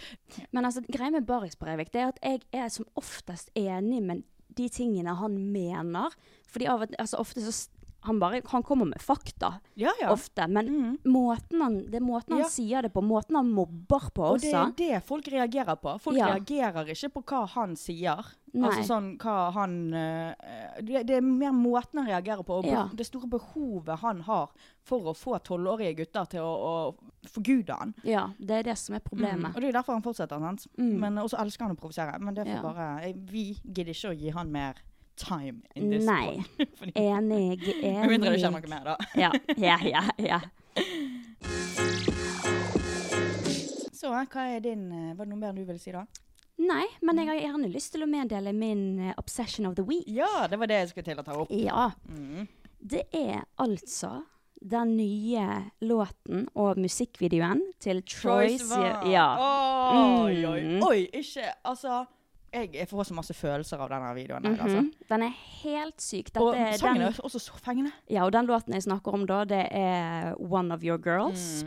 S2: Men altså, greia med Baris Breivik det er at jeg er som oftest enig med de tingene han mener. Fordi av at, altså, ofte så s- han, bare, han kommer med fakta,
S3: ja, ja. Mm.
S2: ofte. Men måten han, det er måten han
S3: Ja.
S2: sier det på, måten han mobber på
S3: Og det
S2: også.
S3: er det folk reagerer på. Folk
S2: Ja.
S3: reagerer ikke på hva han sier.
S2: Nei.
S3: Altså sånn hva han eh, det, det er mer måten han reagerer på, og be-
S2: Ja.
S3: det store behovet han har for å få tolvårige gutter til å, å forgude han.
S2: Ja, det er det som er
S3: Og
S2: problemet.
S3: det er jo derfor han fortsetter, sant.
S2: Mm.
S3: Men også elsker han å provosere. Men det får
S2: Ja.
S3: bare eh, Vi gidder ikke å gi han mer time in this
S2: Nei.
S3: pod. <laughs> Fordi-
S2: Enig, enig.
S3: Med mindre det skjer noe mer, da.
S2: Ja, ja, ja. ja.
S3: Så hva er din eh, Var det noe mer du ville si da?
S2: Nei, men jeg har gjerne lyst til å meddele min eh, obsession of the week.
S3: Ja, det var det jeg skulle til å ta opp.
S2: Ja.
S3: Mm.
S2: Det er altså den nye låten og musikkvideoen til Troy Sivan. Ja.
S3: Oi, oi,
S2: Mm.
S3: oi. Ikke Altså jeg, jeg får så masse følelser av denne videoen. her, altså.
S2: Mhm. Den er helt syk. Dette,
S3: Og
S2: er
S3: sangen
S2: den,
S3: er også så fengende.
S2: ja, og den låten jeg snakker om da, det er One of Your
S3: Mm.
S2: Girls.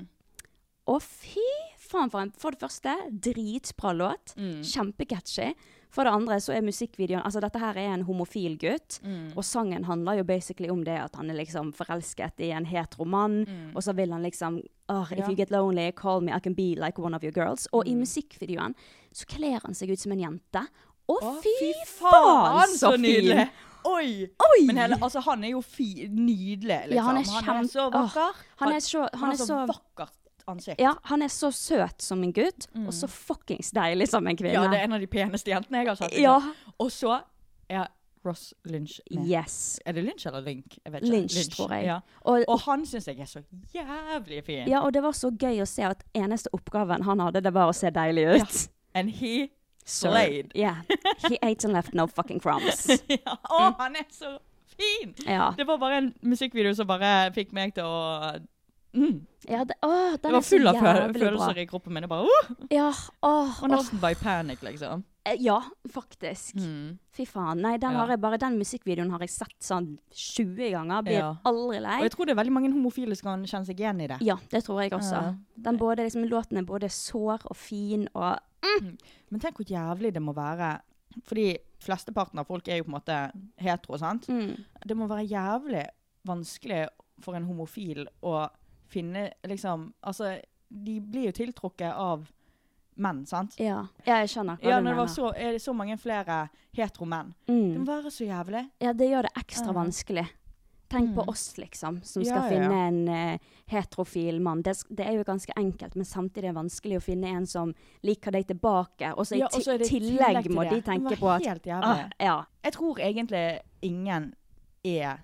S2: Og fy faen for en For det første, dritbra låt. Kjempecatchy. For det andre så er musikkvideoen Altså, dette her er en homofil gutt, og sangen handler jo basically om det at han er liksom forelsket i en hetero mann, og så vil han liksom «Åh, If you get lonely, call me, I can be like one of your girls. Og i musikkvideoen så kler han seg ut som en jente. Å,
S3: Å,
S2: fy, faen, så, fin!
S3: Oi!
S2: Oi!
S3: Men hele, altså, han er jo fi, nydelig, liksom.
S2: Ja, han er kjempe-
S3: så
S2: Åh,
S3: vakker.
S2: han er så- han
S3: har
S2: er så-
S3: vakkert ansikt.
S2: Ja, han er så søt som en gutt, og så fuckings deilig som en kvinne.
S3: Ja, det er en av de peneste jentene jeg har sett.
S2: Ja.
S3: Og så er Ross Lynch med.
S2: Yes.
S3: Er det Lynch eller Link? Jeg vet ikke.
S2: Lynch, tror jeg.
S3: Ja.
S2: Og,
S3: Og han syns jeg er så jævlig fin.
S2: ja, og det var så gøy å se at eneste oppgaven han hadde, det var å se deilig ut.
S3: And he
S2: So,
S3: slayed.
S2: Yeah. He ate and left no fucking crumbs.
S3: <laughs> ja.
S2: Mm.
S3: Å, han er så fin!
S2: Ja.
S3: Det var bare en musikkvideo som bare fikk meg til å
S2: ja det, åh, den
S3: Det var
S2: er så
S3: full av fø-
S2: jævlig
S3: følelser
S2: bra.
S3: i kroppen min. Jeg bare, uh,
S2: Ja, åh, åh,
S3: og nesten by panic, liksom.
S2: eh, ja, faktisk. Fy faen. Nei, den,
S3: Mm. Ja.
S2: har jeg bare, den musikkvideoen har jeg sett sånn 20 ganger. Blir
S3: Ja.
S2: aldri lei.
S3: Og jeg tror det er veldig mange homofile som kan kjenne seg igjen i det. Eh,
S2: Ja, altså. det tror jeg også.
S3: Ja.
S2: Den både, liksom, låten er både sår og fin og
S3: Men tenk hvor jævlig det må være. Fordi flesteparten av folk er jo på en måte hetero, sant?
S2: mm.
S3: Det må være jævlig vanskelig for en homofil å finne liksom Altså, de blir jo tiltrukket av menn, sant?
S2: Ja. ja, jeg skjønner hva
S3: Ja,
S2: du
S3: når
S2: mener.
S3: det var så, er det så mange flere hetero menn. Det
S2: mm.
S3: må være så jævlig.
S2: Ja, det gjør det ekstra
S3: Ja.
S2: vanskelig. Tenk på oss, liksom, som
S3: Ah. Mm.
S2: skal
S3: Ja, ja, ja.
S2: finne en eh, heterofil mann. Det, s- det er jo ganske enkelt, men samtidig er det vanskelig å finne en som liker deg tilbake. Og så i
S3: Ja, og så er
S2: ti-
S3: det i
S2: tillegg,
S3: til
S2: må
S3: det.
S2: de tenke på at
S3: Det må være helt jævlig.
S2: ah, Ja.
S3: Jeg tror egentlig ingen er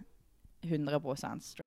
S3: 100 straight.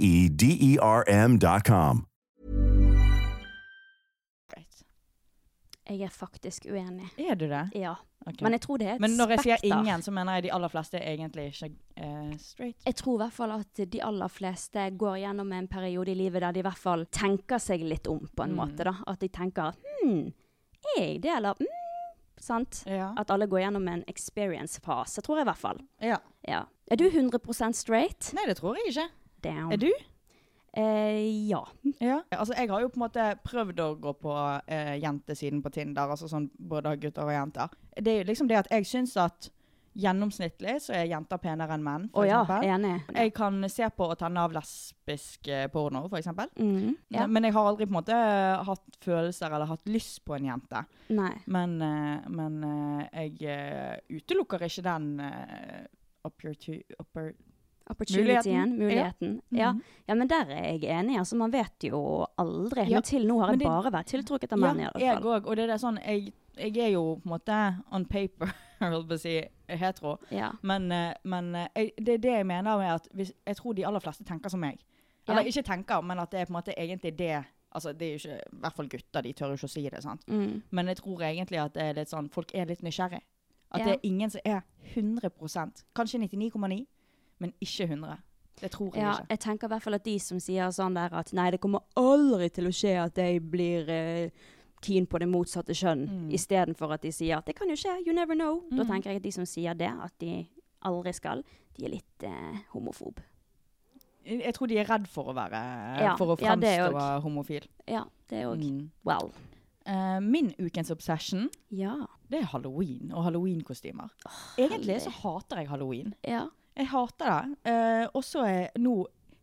S6: E D E R M.com.
S2: Jeg er faktisk uenig.
S3: Er du det?
S2: Ja.
S3: Ok.
S2: Men jeg tror det er et
S3: Men når jeg sier
S2: spekter.
S3: ingen, så mener jeg de aller fleste er egentlig ikke eh, straight.
S2: Jeg tror i hvert fall at de aller fleste går gjennom en periode i livet der de i hvert fall tenker seg litt om, på
S3: Mm.
S2: en måte. da. At de tenker hm, er jeg det, eller hm, sant?
S3: Ja.
S2: At alle går gjennom en experience-fase, tror jeg i hvert fall.
S3: ja.
S2: Ja. Er du 100 straight?
S3: Nei, det tror jeg ikke.
S2: Damn.
S3: Er du?
S2: Eh, ja.
S3: Ja. Altså, jeg har jo på en måte prøvd å gå på eh, jentesiden på Tinder, altså sånn både av gutter og jenter. Det er jo liksom det at jeg syns at gjennomsnittlig så er jenter penere enn menn,
S2: Å
S3: for
S2: ja,
S3: eksempel.
S2: enig.
S3: Jeg kan se på og tenne av lesbisk eh, porno, for eksempel.
S2: Mm, ja.
S3: Men jeg har aldri på en måte eh, hatt følelser eller hatt lyst på en jente.
S2: Nei.
S3: Men, eh, men eh, jeg eh, utelukker ikke den eh, opportu- oppor- mm-hmm.
S2: Opportunityen,
S3: Muligheten. Mm.
S2: muligheten. Ja. ja, men der er jeg enig. altså Man vet jo aldri.
S3: Ja,
S2: Men til nå har
S3: men
S2: jeg
S3: det-
S2: bare vært tiltrukket av menn, i alle
S3: jeg
S2: fall.
S3: òg. Og det er det sånn jeg, jeg er jo på en måte on paper, <laughs> jeg holdt på å si, hetero.
S2: Ja.
S3: Men, eh, men eh, jeg, det er det jeg mener med at hvis, jeg tror de aller fleste tenker som meg. Eller
S2: Ja.
S3: ikke tenker, men at det er på en måte egentlig det Altså, det er jo ikke I hvert fall gutter, de tør jo ikke å si det, sant.
S2: Mm.
S3: Men jeg tror egentlig at det er litt sånn Folk er litt nysgjerrig. At
S2: Ja.
S3: det er ingen som er 100 Kanskje 99,9, men ikke 100 Det tror jeg
S2: Ja,
S3: ikke.
S2: jeg tenker i hvert fall at de som sier sånn der at nei, det kommer aldri til å skje at jeg blir eh, keen på det motsatte kjønn, istedenfor at de sier at det kan jo skje, you never know. Da tenker jeg at de som sier det, at de aldri skal, de er litt eh, homofob.
S3: Jeg jeg tror de er redd for å være
S2: Ja,
S3: For å
S2: ja, det
S3: fremstå
S2: òg.
S3: homofil.
S2: Ja, det òg.
S3: Mm.
S2: Well.
S3: Eh, min ukens obsession,
S2: Ja.
S3: det er halloween og halloweenkostymer. Egentlig så hater jeg halloween.
S2: ja.
S3: Jeg hater det. Eh, og så er nå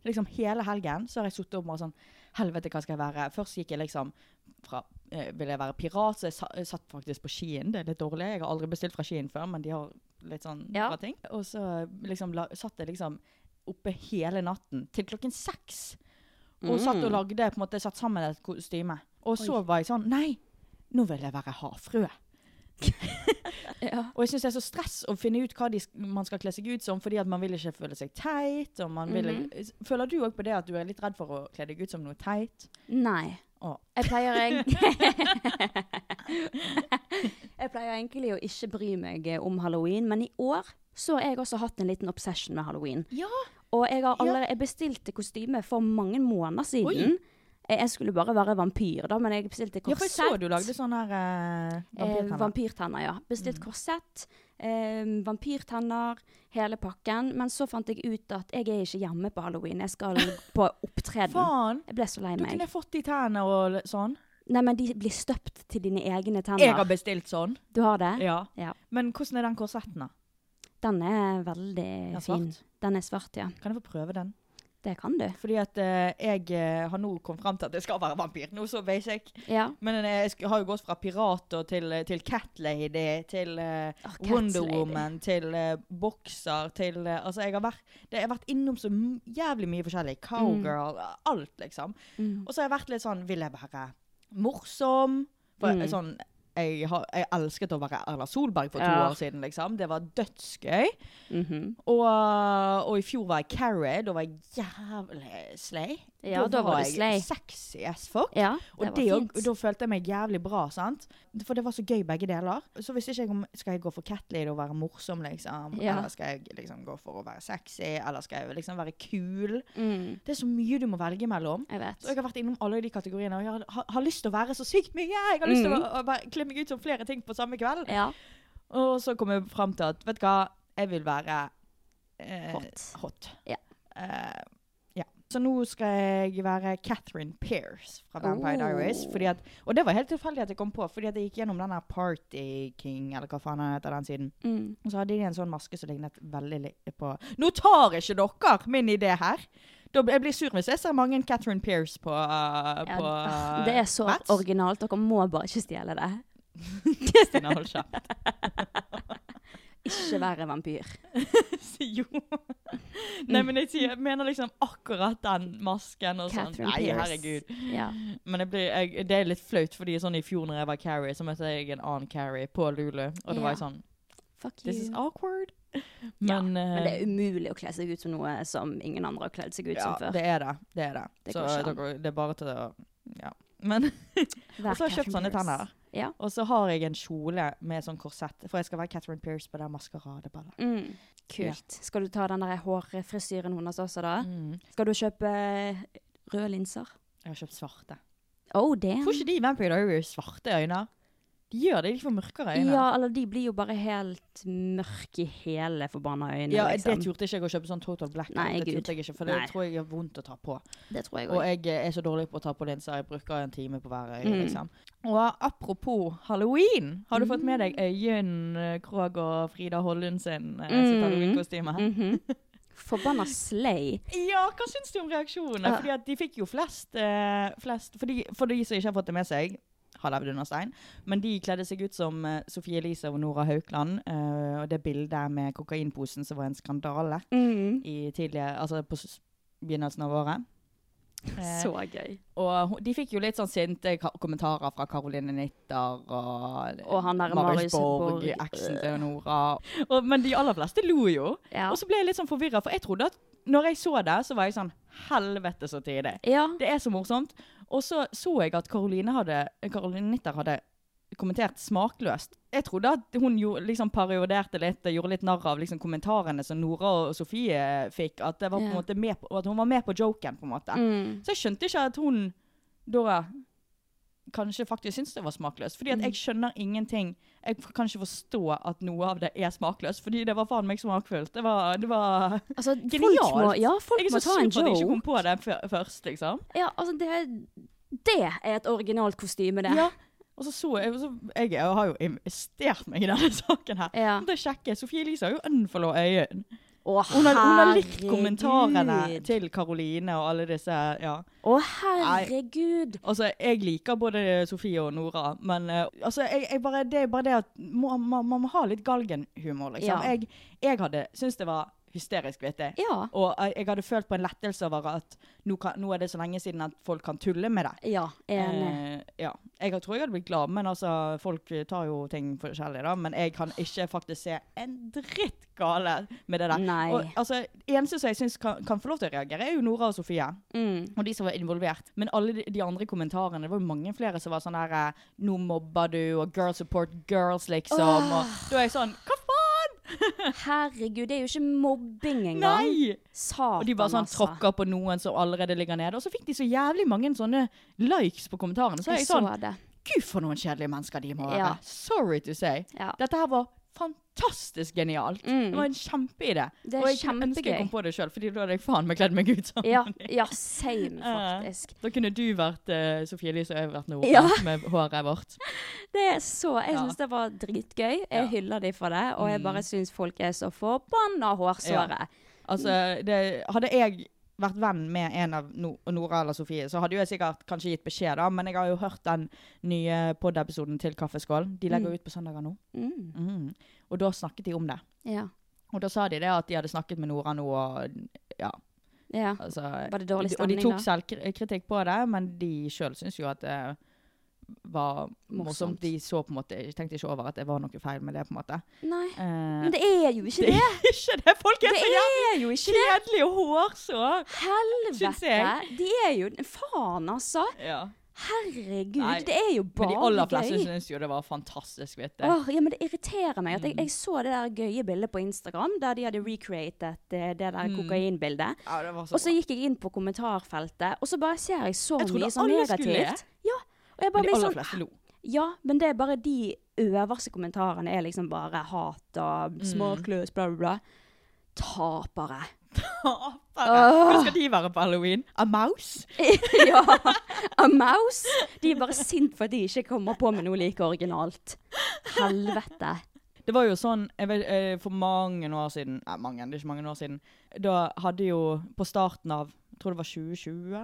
S3: liksom hele helgen så har jeg sittet opp med sånn Helvete, hva skal jeg være? Først gikk jeg liksom fra eh, Vil jeg være pirat? Så jeg sa, jeg satt faktisk på Skien. Det er litt dårlig. Jeg har aldri bestilt fra Skien før, men de har litt sånn
S2: Ja.
S3: bra ting. Og så liksom la, satt jeg liksom oppe hele natten til klokken seks. Og satt og lagde på en måte Satt sammen et kostyme. Og så var jeg sånn Nei, nå vil jeg være havfrue.
S2: Ja.
S3: Og jeg syns det er så stress å finne ut hva de, sk- man skal kle seg ut som, fordi at man vil ikke føle seg teit. Og man vil, Føler du òg på det at du er litt redd for å kle deg ut som noe teit?
S2: Nei.
S3: Å.
S2: Jeg pleier
S3: <laughs>
S2: eng- <laughs> Jeg pleier egentlig å ikke bry meg eh, om halloween, men i år så har jeg også hatt en liten obsession med halloween.
S3: Ja!
S2: Og jeg, har allerede, jeg bestilte kostyme for mange måneder siden. Jeg- Jeg skulle bare være vampyr, da, men jeg bestilte korsett.
S3: for jeg så du lagde sånn her eh,
S2: Eh,
S3: vampyrtenner. Mm.
S2: vampyrtenner, ja. Bestilt korsett, eh, vampyrtenner, hele pakken. Men så fant jeg ut at jeg er ikke hjemme på halloween, jeg
S3: <laughs>
S2: skal på opptreden.
S3: Faen!
S2: Jeg ble så lei
S3: Du kunne
S2: meg.
S3: fått de tennene og l- sånn.
S2: Nei, men de blir støpt til dine egne
S3: Jeg har
S2: tenner.
S3: bestilt sånn.
S2: Du har det?
S3: Ja.
S2: Ja.
S3: Men hvordan er den korsetten, da?
S2: Den er veldig
S3: Den er
S2: fin.
S3: svart?
S2: Den er svart, ja.
S3: Kan jeg få prøve den?
S2: Det kan du.
S3: Fordi at eh, jeg eh, har nå kommet fram til at jeg skal være vampyr. Noe så basic.
S2: Ja.
S3: Men eh, jeg sk- har jo gått fra pirater til, eh, til Catlady, til eh,
S2: Åh, Cat
S3: Wonder
S2: Lady.
S3: Woman, til eh, bokser, til eh, Altså, jeg har vært, det, jeg har vært innom så m- jævlig mye
S2: Mm.
S3: forskjellig. Cowgirl, alt, liksom. Og så har jeg vært litt sånn Vil jeg være morsom? For,
S2: Mm.
S3: eh, sånn, jeg, har, jeg elsket å være Erla Solberg for to
S2: Ja.
S3: år siden, liksom. Det var dødsgøy.
S2: Mhm.
S3: og, og i fjor var jeg Carrie. Da var jeg jævlig slay.
S2: Ja, da var du slay.
S3: jeg sexy as fuck.
S2: Ja, det
S3: Og
S2: var
S3: det og,
S2: fint.
S3: da følte jeg meg jævlig bra, sant? For det var så gøy begge deler. Så visste ikke jeg om skal jeg gå for Catlady og være morsom, liksom.
S2: Ja.
S3: Eller skal jeg liksom gå for å være sexy, eller skal jeg liksom være kul?
S2: Mm,
S3: Det er så mye du må velge mellom.
S2: jeg vet.
S3: Så jeg har vært innom alle de kategoriene, og jeg har, har, har lyst til å være så sykt mye! Jeg har lyst til å, å være- kle meg ut som flere ting på samme kveld.
S2: Mm. Ja.
S3: Og så kom jeg frem til at, vet du hva, jeg vil være eh,
S2: Hot.
S3: hot.
S2: Ja.
S3: Eh, ja. Så nå skal jeg være Catherine Pears fra Vampire
S2: Oh.
S3: Diaries. Fordi at, og det var helt tilfeldig at jeg kom på, fordi at jeg gikk gjennom den her Party King, eller hva faen han heter den siden.
S2: Mm.
S3: Og så hadde de en sånn maske som lignet veldig li- på Nå tar ikke dere min idé her! Da, bl- jeg blir sur hvis jeg ser mange Catherine Pears på, uh,
S2: Ja,
S3: på
S2: d- <laughs> det er så
S3: Mats. <laughs>
S2: originalt. Dere må bare ikke stjele det.
S3: Stina, hold kjeft.
S2: Ikke være vampyr.
S3: <laughs> Jo. Nei, men jeg, sier, jeg mener liksom akkurat den masken og sånn.
S2: Catherine
S3: Nei,
S2: Pierce.
S3: herregud.
S2: Ja.
S3: Men jeg blir, jeg, det er litt flaut, fordi sånn i fjor når jeg var Carrie, så møtte jeg en annen Carrie på Lulu. Og det
S2: Ja.
S3: var jeg sånn
S2: Fuck you.
S3: This is awkward.
S2: Ja,
S3: Men, eh,
S2: Men det er umulig å kle seg ut som noe som ingen andre har kledd seg ut som
S3: ja,
S2: før.
S3: det er det. Det er det.
S2: Det
S3: så
S2: går ikke an.
S3: dere- det er bare til å Ja. Men
S2: Vær
S3: <laughs> Og så har jeg kjøpt
S2: Catherine
S3: sånne
S2: Pierce.
S3: tenner.
S2: Ja.
S3: Og så har jeg en kjole med sånn korsett, for jeg skal være Catherine Pierce på det maskeradeballet.
S2: Mm. Kult. Skal du ta den der hårfrisyren hennes også, da? Skal du kjøpe eh, røde linser?
S3: Jeg har kjøpt svarte.
S2: Oh, damn.
S3: Får ikke de Vampire Diaries svarte øyne? De gjør det, de får mørkere øyne.
S2: Ja, eller de blir jo bare helt mørke i hele forbanna øynene,
S3: Ja,
S2: liksom.
S3: det turte ikke jeg å kjøpe sånn Total Black.
S2: Nei,
S3: det
S2: Gud.
S3: turte jeg ikke, for det
S2: Nei.
S3: tror jeg er vondt å ta på.
S2: Det tror jeg
S3: Og
S2: òg.
S3: jeg eh, er så dårlig på å ta på linser. Jeg bruker en time på hver
S2: Mm.
S3: øye, liksom. Og apropos halloween, har du fått med deg
S2: Mm.
S3: Øyunn eh, Krogh og Frida Hollund sin eh, sitt
S2: Mm.
S3: halloweenkostyme?
S2: Mhm.
S3: <laughs>
S2: Forbanna slay.
S3: Ja, hva syns du om reaksjonene? Fordi at de fikk jo flest, eh, flest for, de, for de som ikke har fått det med seg, har levd under stein, men de kledde seg ut som eh, Sofie Elise og Nora Haukeland. eh, og det bildet med kokainposen som var en skandale
S2: Mhm.
S3: i tidligere, altså på s- begynnelsen av året. Eh,
S2: Så gøy.
S3: og hun- de fikk jo litt sånn sinte ka- kommentarer fra Caroline Nitter og,
S2: Og han der Marius Borg. eh,
S3: eksen til Nora. Øh. Og, men de aller fleste lo jo.
S2: Ja.
S3: Og så ble jeg litt sånn forvirra, for jeg trodde at når jeg så det, så var jeg sånn Helvete så tidlig.
S2: Ja.
S3: Det er så morsomt. Og så så jeg at Caroline, hadde, Caroline Nitter hadde kommentert smakløst. Jeg trodde at hun jo, liksom parodierte litt, gjorde litt narr av liksom, kommentarene som Nora og Sofie fikk, at, det var, på en
S2: Ja.
S3: måte med på, at hun var med på joken, på en måte.
S2: Mm.
S3: Så jeg skjønte ikke at hun da kanskje faktisk syntes det var smakløst. Fordi at
S2: Mm.
S3: jeg skjønner ingenting. Jeg f- kan ikke forstå at noe av det er smakløst, fordi det var faen meg smakfullt. Det var, det var
S2: Altså,
S3: genialt.
S2: folk må, ja, folk
S3: jeg er
S2: må
S3: så
S2: ta
S3: sur
S2: en
S3: for at jeg ikke
S2: joke.
S3: kom på det før- først, liksom.
S2: Ja, altså, det, det er et originalt kostyme, det.
S3: Ja. Og så så jeg, så jeg, har jo investert meg i denne <laughs> saken her.
S2: Ja.
S3: Da sjekker jeg, Sofie Elise har jo unfollow øyen.
S2: Å,
S3: Hun har, hun har likt
S2: herregud.
S3: kommentarene til Karoline og alle disse. ja.
S2: Å, herregud.
S3: Altså, Jeg liker både Sofie og Nora, men eh, altså, jeg, jeg bare, det er bare det at må- må- man må ha litt galgenhumor, liksom.
S2: Ja.
S3: Jeg, jeg hadde syntes det var hysterisk, vet jeg.
S2: Ja.
S3: Og eh, jeg hadde følt på en lettelse over at nå, kan, nå er det så lenge siden at folk kan tulle med det.
S2: Ja, enig.
S3: Eh, ja. Jeg tror jeg hadde blitt glad, men altså, folk tar jo ting forskjellig, da. Men jeg kan ikke faktisk se en dritt gale med det der.
S2: Nei.
S3: Og, altså, eneste som jeg syns kan, kan få lov til å reagere, er jo Nora og Sofie.
S2: Mm.
S3: Og de som var involvert. Men alle de, de andre kommentarene, det var jo mange flere som var sånn der eh, Nå mobber du, og girl support girls, liksom. Og da er jeg sånn Hva faen?!
S2: Herregud, det er jo ikke mobbing engang.
S3: Nei!
S2: Satan, altså.
S3: Og de bare sånn tråkker på noen som allerede ligger nede. Og så fikk de så jævlig mange sånne likes på kommentarene. Så er
S2: Jeg
S3: jeg
S2: så
S3: sånn
S2: det.
S3: Gud, for noen kjedelige mennesker de må være.
S2: Ja.
S3: Sorry to say.
S2: Ja.
S3: Dette her var fantastisk genialt.
S2: Mm.
S3: Det var en kjempeidé.
S2: Det er
S3: Og jeg kunne ønske jeg
S2: kjempegøy.
S3: kom på det sjøl, Fordi da hadde jeg faen meg kledd meg ut sånn.
S2: Ja, ja, same,
S3: <laughs> Ja.
S2: faktisk.
S3: <laughs> Da kunne du vært eh, Sofie Elise, og jeg vært Nora
S2: Ja.
S3: <laughs> med håret vårt.
S2: Det er så, Jeg
S3: Ja. Mm.
S2: syns det var dritgøy. Jeg hyller de for det. Og jeg bare syns folk er så forbanna hårsåre.
S3: Altså, det, hadde jeg vært venn med en av no Nora eller Sofie, så hadde jo jeg sikkert kanskje gitt beskjed, da. Men jeg har jo hørt den nye pod-episoden til Kaffeskål. De legger jo ut på søndager nå.
S2: Mm.
S3: Mm. Og da snakket de om det.
S2: Ja.
S3: Og da sa de det at de hadde snakket med Nora nå, og ja,
S2: ja.
S3: altså
S2: Var det dårlig
S3: Og de
S2: stemning
S3: tok
S2: da?
S3: selvkritikk på det, men de sjøl syns jo at det var morsomt.
S2: Morsomt.
S3: De så på en måte, tenkte ikke over at det var noe feil med det, på en måte.
S2: Nei.
S3: Eh,
S2: Men det er jo ikke det!
S3: <laughs> ikke det! Folk er
S2: Det
S3: så jævlig
S2: er jo ikke det!
S3: kjedelige og hårsår! Syns
S2: Helvete!
S3: jeg.
S2: De er jo Faen, altså!
S3: Ja.
S2: Herregud,
S3: Nei,
S2: det er jo
S3: Men de
S2: bare
S3: aller fleste
S2: gøy.
S3: syns jo det var fantastisk, vet du.
S2: Åh, ja, men Det irriterer meg.
S3: Mm.
S2: at jeg, jeg så det der gøye bildet på Instagram der de hadde recreatet eh, det der kokainbildet.
S3: Ja, det var Mm. så
S2: Og så
S3: bra.
S2: gikk jeg inn på kommentarfeltet, og så bare ser jeg så
S3: Jeg trodde
S2: mye sånn
S3: alle skulle
S2: negativt. Ja, og jeg
S3: Men
S2: bare
S3: de
S2: blir
S3: aller
S2: sånn
S3: fleste lo. <laughs>
S2: Ja, men det er bare de øverste kommentarene er liksom bare hat
S3: Mm.
S2: og smakløs, bla, bla, bla. Tapere.
S3: <laughs> Hvordan skal de være på halloween? A mouse?
S2: ja. A mouse. De er bare sint for at de ikke kommer på med noe like originalt. Helvete.
S3: Det var jo sånn jeg vet, eh, For mange år siden Nei, mange, det er ikke mange år siden. Da hadde jo på starten av jeg tror det var 2020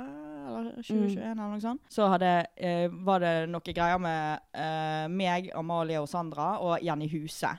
S3: eller 2021 eller noe sånt. Så hadde, eh, var det noe greier med eh, meg, Amalie og Sandra og Jenny Huse.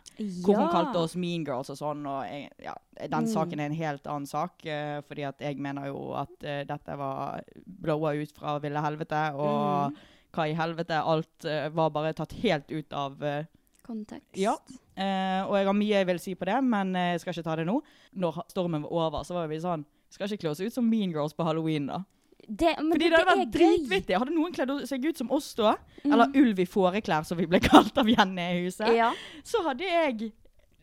S3: Hvor hun kalte oss Mean Girls og sånn. Og jeg, ja, den saken er en helt annen sak. eh, fordi at jeg mener jo at eh, dette var blowa ut fra ville helvete. Og hva i helvete? Alt eh, var bare tatt helt ut av eh,
S2: Kontekst.
S3: ja, eh, og jeg har mye jeg vil si på det, men eh, jeg skal ikke ta det nå. Når ha- stormen var over, så var vi sånn Skal ikke kle oss ut som Mean Girls på halloween, da.
S2: Det, men
S3: Fordi det, hadde vært dritvittig. Hadde noen kledd seg ut som oss da, eller Ulv i fåreklær, som vi ble <laughs> kalt av Jenny i huset,
S2: Ja,
S3: så hadde jeg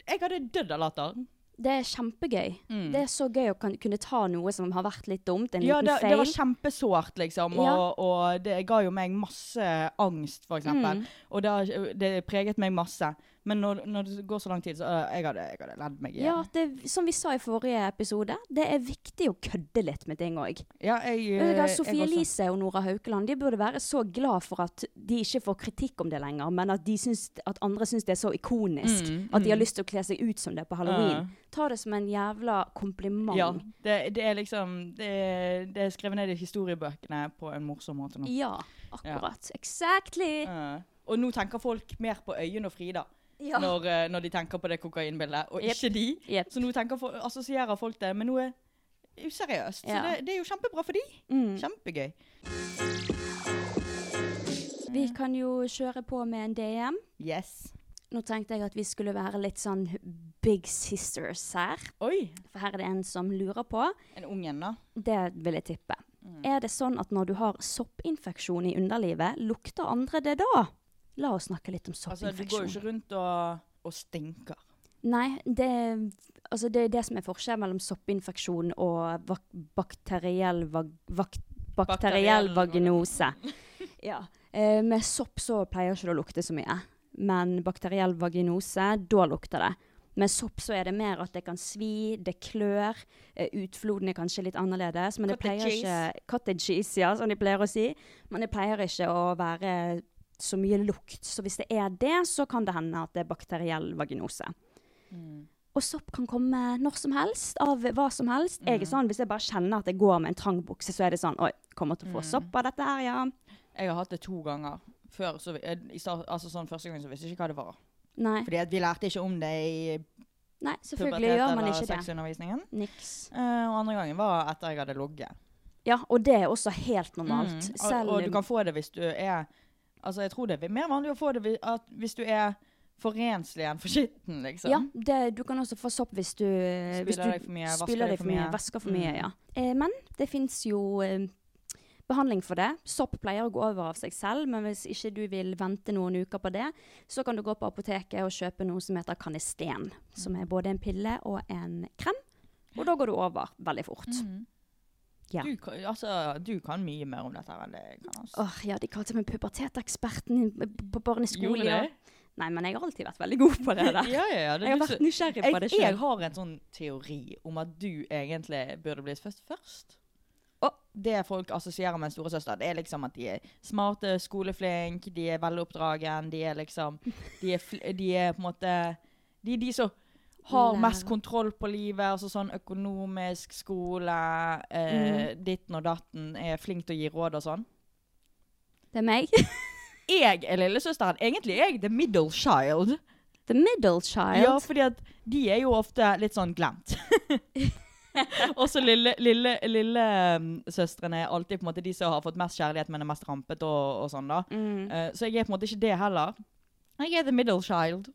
S3: Jeg hadde dødd av latter.
S2: det er kjempegøy. Det er så gøy å kan, kunne ta noe som har vært litt dumt, en
S3: Mm. Ja,
S2: liten
S3: det, det
S2: feil.
S3: var kjempesårt, liksom. Og,
S2: Ja.
S3: og det ga jo meg masse angst,
S2: Mm.
S3: for eksempel. Og det, har- det preget meg masse. Men når, når det går så lang tid, så øh, jeg hadde jeg hadde ledd meg i
S2: ja, det, som vi sa i forrige episode, det er viktig å kødde litt med ting òg.
S3: Ja, jeg, eh, jeg
S2: Sofie
S3: også.
S2: Elise og Nora Haukeland de burde være så glad for at de ikke får kritikk om det lenger, men at, de syns, at andre syns det er så ikonisk.
S3: Mm,
S2: At de har lyst til å kle seg ut som det på halloween. Ta det som en jævla kompliment.
S3: Ah. Ja, det, det er liksom det, er- det er skrevet ned i historiebøkene på en morsom måte nå.
S2: Ja, akkurat. Exactly.
S3: Eh, og nå tenker folk mer på Øyunn og Frida
S2: Ja.
S3: når, eh, når de tenker på det kokainbildet, og
S2: Jep.
S3: ikke de.
S2: Jep.
S3: Så nå tenker fol- assosierer folk det med noe useriøst. Så
S2: Ja.
S3: det, det er jo kjempebra for de.
S2: Mm.
S3: Kjempegøy.
S2: Vi
S3: Mm.
S2: kan jo kjøre på med en DM.
S3: Yes.
S2: Nå tenkte jeg at vi skulle være litt sånn big sisters her.
S3: Oi,
S2: For her er det en som lurer på.
S3: en ung en da.
S2: Det vil jeg tippe.
S3: Mm.
S2: Er det sånn at når du har soppinfeksjon i underlivet, lukter andre det da? La oss snakke litt om
S3: Altså, du går
S2: soppinfeksjon.
S3: jo ikke rundt og, og stinker.
S2: Nei, det, altså det er det som er forskjellen mellom soppinfeksjon og vak bakteriell, vag vak bakteriell
S3: Bakteriell
S2: vaginose. ja. Eh, med sopp så pleier ikke det å lukte så mye. Men bakteriell vaginose, da lukter det. Med sopp så er det mer at det kan svi, det klør. eh, Utfloden er kanskje litt annerledes, men det
S3: Cottage
S2: pleier ikke Cottage cheese, ja, som de pleier å si. Men det pleier ikke å være så mye lukt. Så hvis det er det, så kan det hende at det er bakteriell vaginose. Og sopp kan komme når som helst, av hva som helst. Jeg
S3: Mm.
S2: er sånn, Hvis jeg bare kjenner at jeg går med en trang bukse, så er det sånn Oi, kommer til å
S3: Mm.
S2: få sopp av dette her, ja.
S3: Jeg har hatt det to ganger. Før, så, vi- eh, i start, altså sånn Første gangen så visste jeg ikke hva det var.
S2: Nei,
S3: Fordi at vi lærte ikke om det i
S2: Nei selvfølgelig
S3: pubertet
S2: gjør man
S3: eller
S2: ikke det.
S3: sexundervisningen.
S2: Niks.
S3: Eh, og andre gangen var etter jeg hadde ligget.
S2: Ja, og det er også helt Mm. normalt.
S3: Mm.
S2: Selv
S3: Og, og du kan få det hvis du er Altså, jeg tror det er mer vanlig å få det hvis, at hvis du er for renslig enn for skitten, liksom.
S2: Ja, det, du kan også få sopp hvis du Spiller hvis du
S3: deg for mye, vasker
S2: spyler
S3: deg
S2: deg
S3: for
S2: for mye,
S3: mye. Mm.
S2: vasker for mye. ja. Eh, men det fins jo eh, behandling for det. Sopp pleier å gå over av seg selv, men hvis ikke du vil vente noen uker på det, så kan du gå på apoteket og kjøpe noe som heter Canesten, som er både en pille og en krem. Og da går du over veldig fort.
S3: Mm.
S2: Ja.
S3: Du, kan- altså, du kan mye mer om dette her enn det jeg kan. Altså.
S2: Åh, ja, De kalte meg puberteteksperten i- på barneskolen.
S3: Gjorde de?
S2: og- Nei, men jeg har alltid vært veldig god på det der.
S3: <laughs> Ja, ja, ja. Det
S2: Jeg har
S3: er du
S2: vært
S3: som-
S2: nysgjerrig på det
S3: jeg, jeg
S2: sjøl.
S3: har en sånn teori om at du egentlig burde bli født først.
S2: Å.
S3: Det folk assosierer med en storesøster, det er liksom at de er smarte, skoleflinke, de er veloppdragen, de er liksom De er, fl de er på en måte De er de som har
S2: Lærer.
S3: mest kontroll på livet. altså Sånn økonomisk, skole, eh,
S2: Mhm.
S3: ditten og datten, er flink til å gi råd og sånn.
S2: Det er meg.
S3: Jeg er lillesøsteren. Egentlig er jeg the middle child.
S2: The middle child.
S3: Ja, fordi at de er jo ofte litt sånn
S2: <laughs>
S3: glemt. Også lille, lille, lille um, søstrene er alltid på en måte de som har fått mest kjærlighet, men er mest rampet og, og sånn da.
S2: Mm.
S3: Eh, så jeg er på en måte ikke det heller. Jeg er the middle child,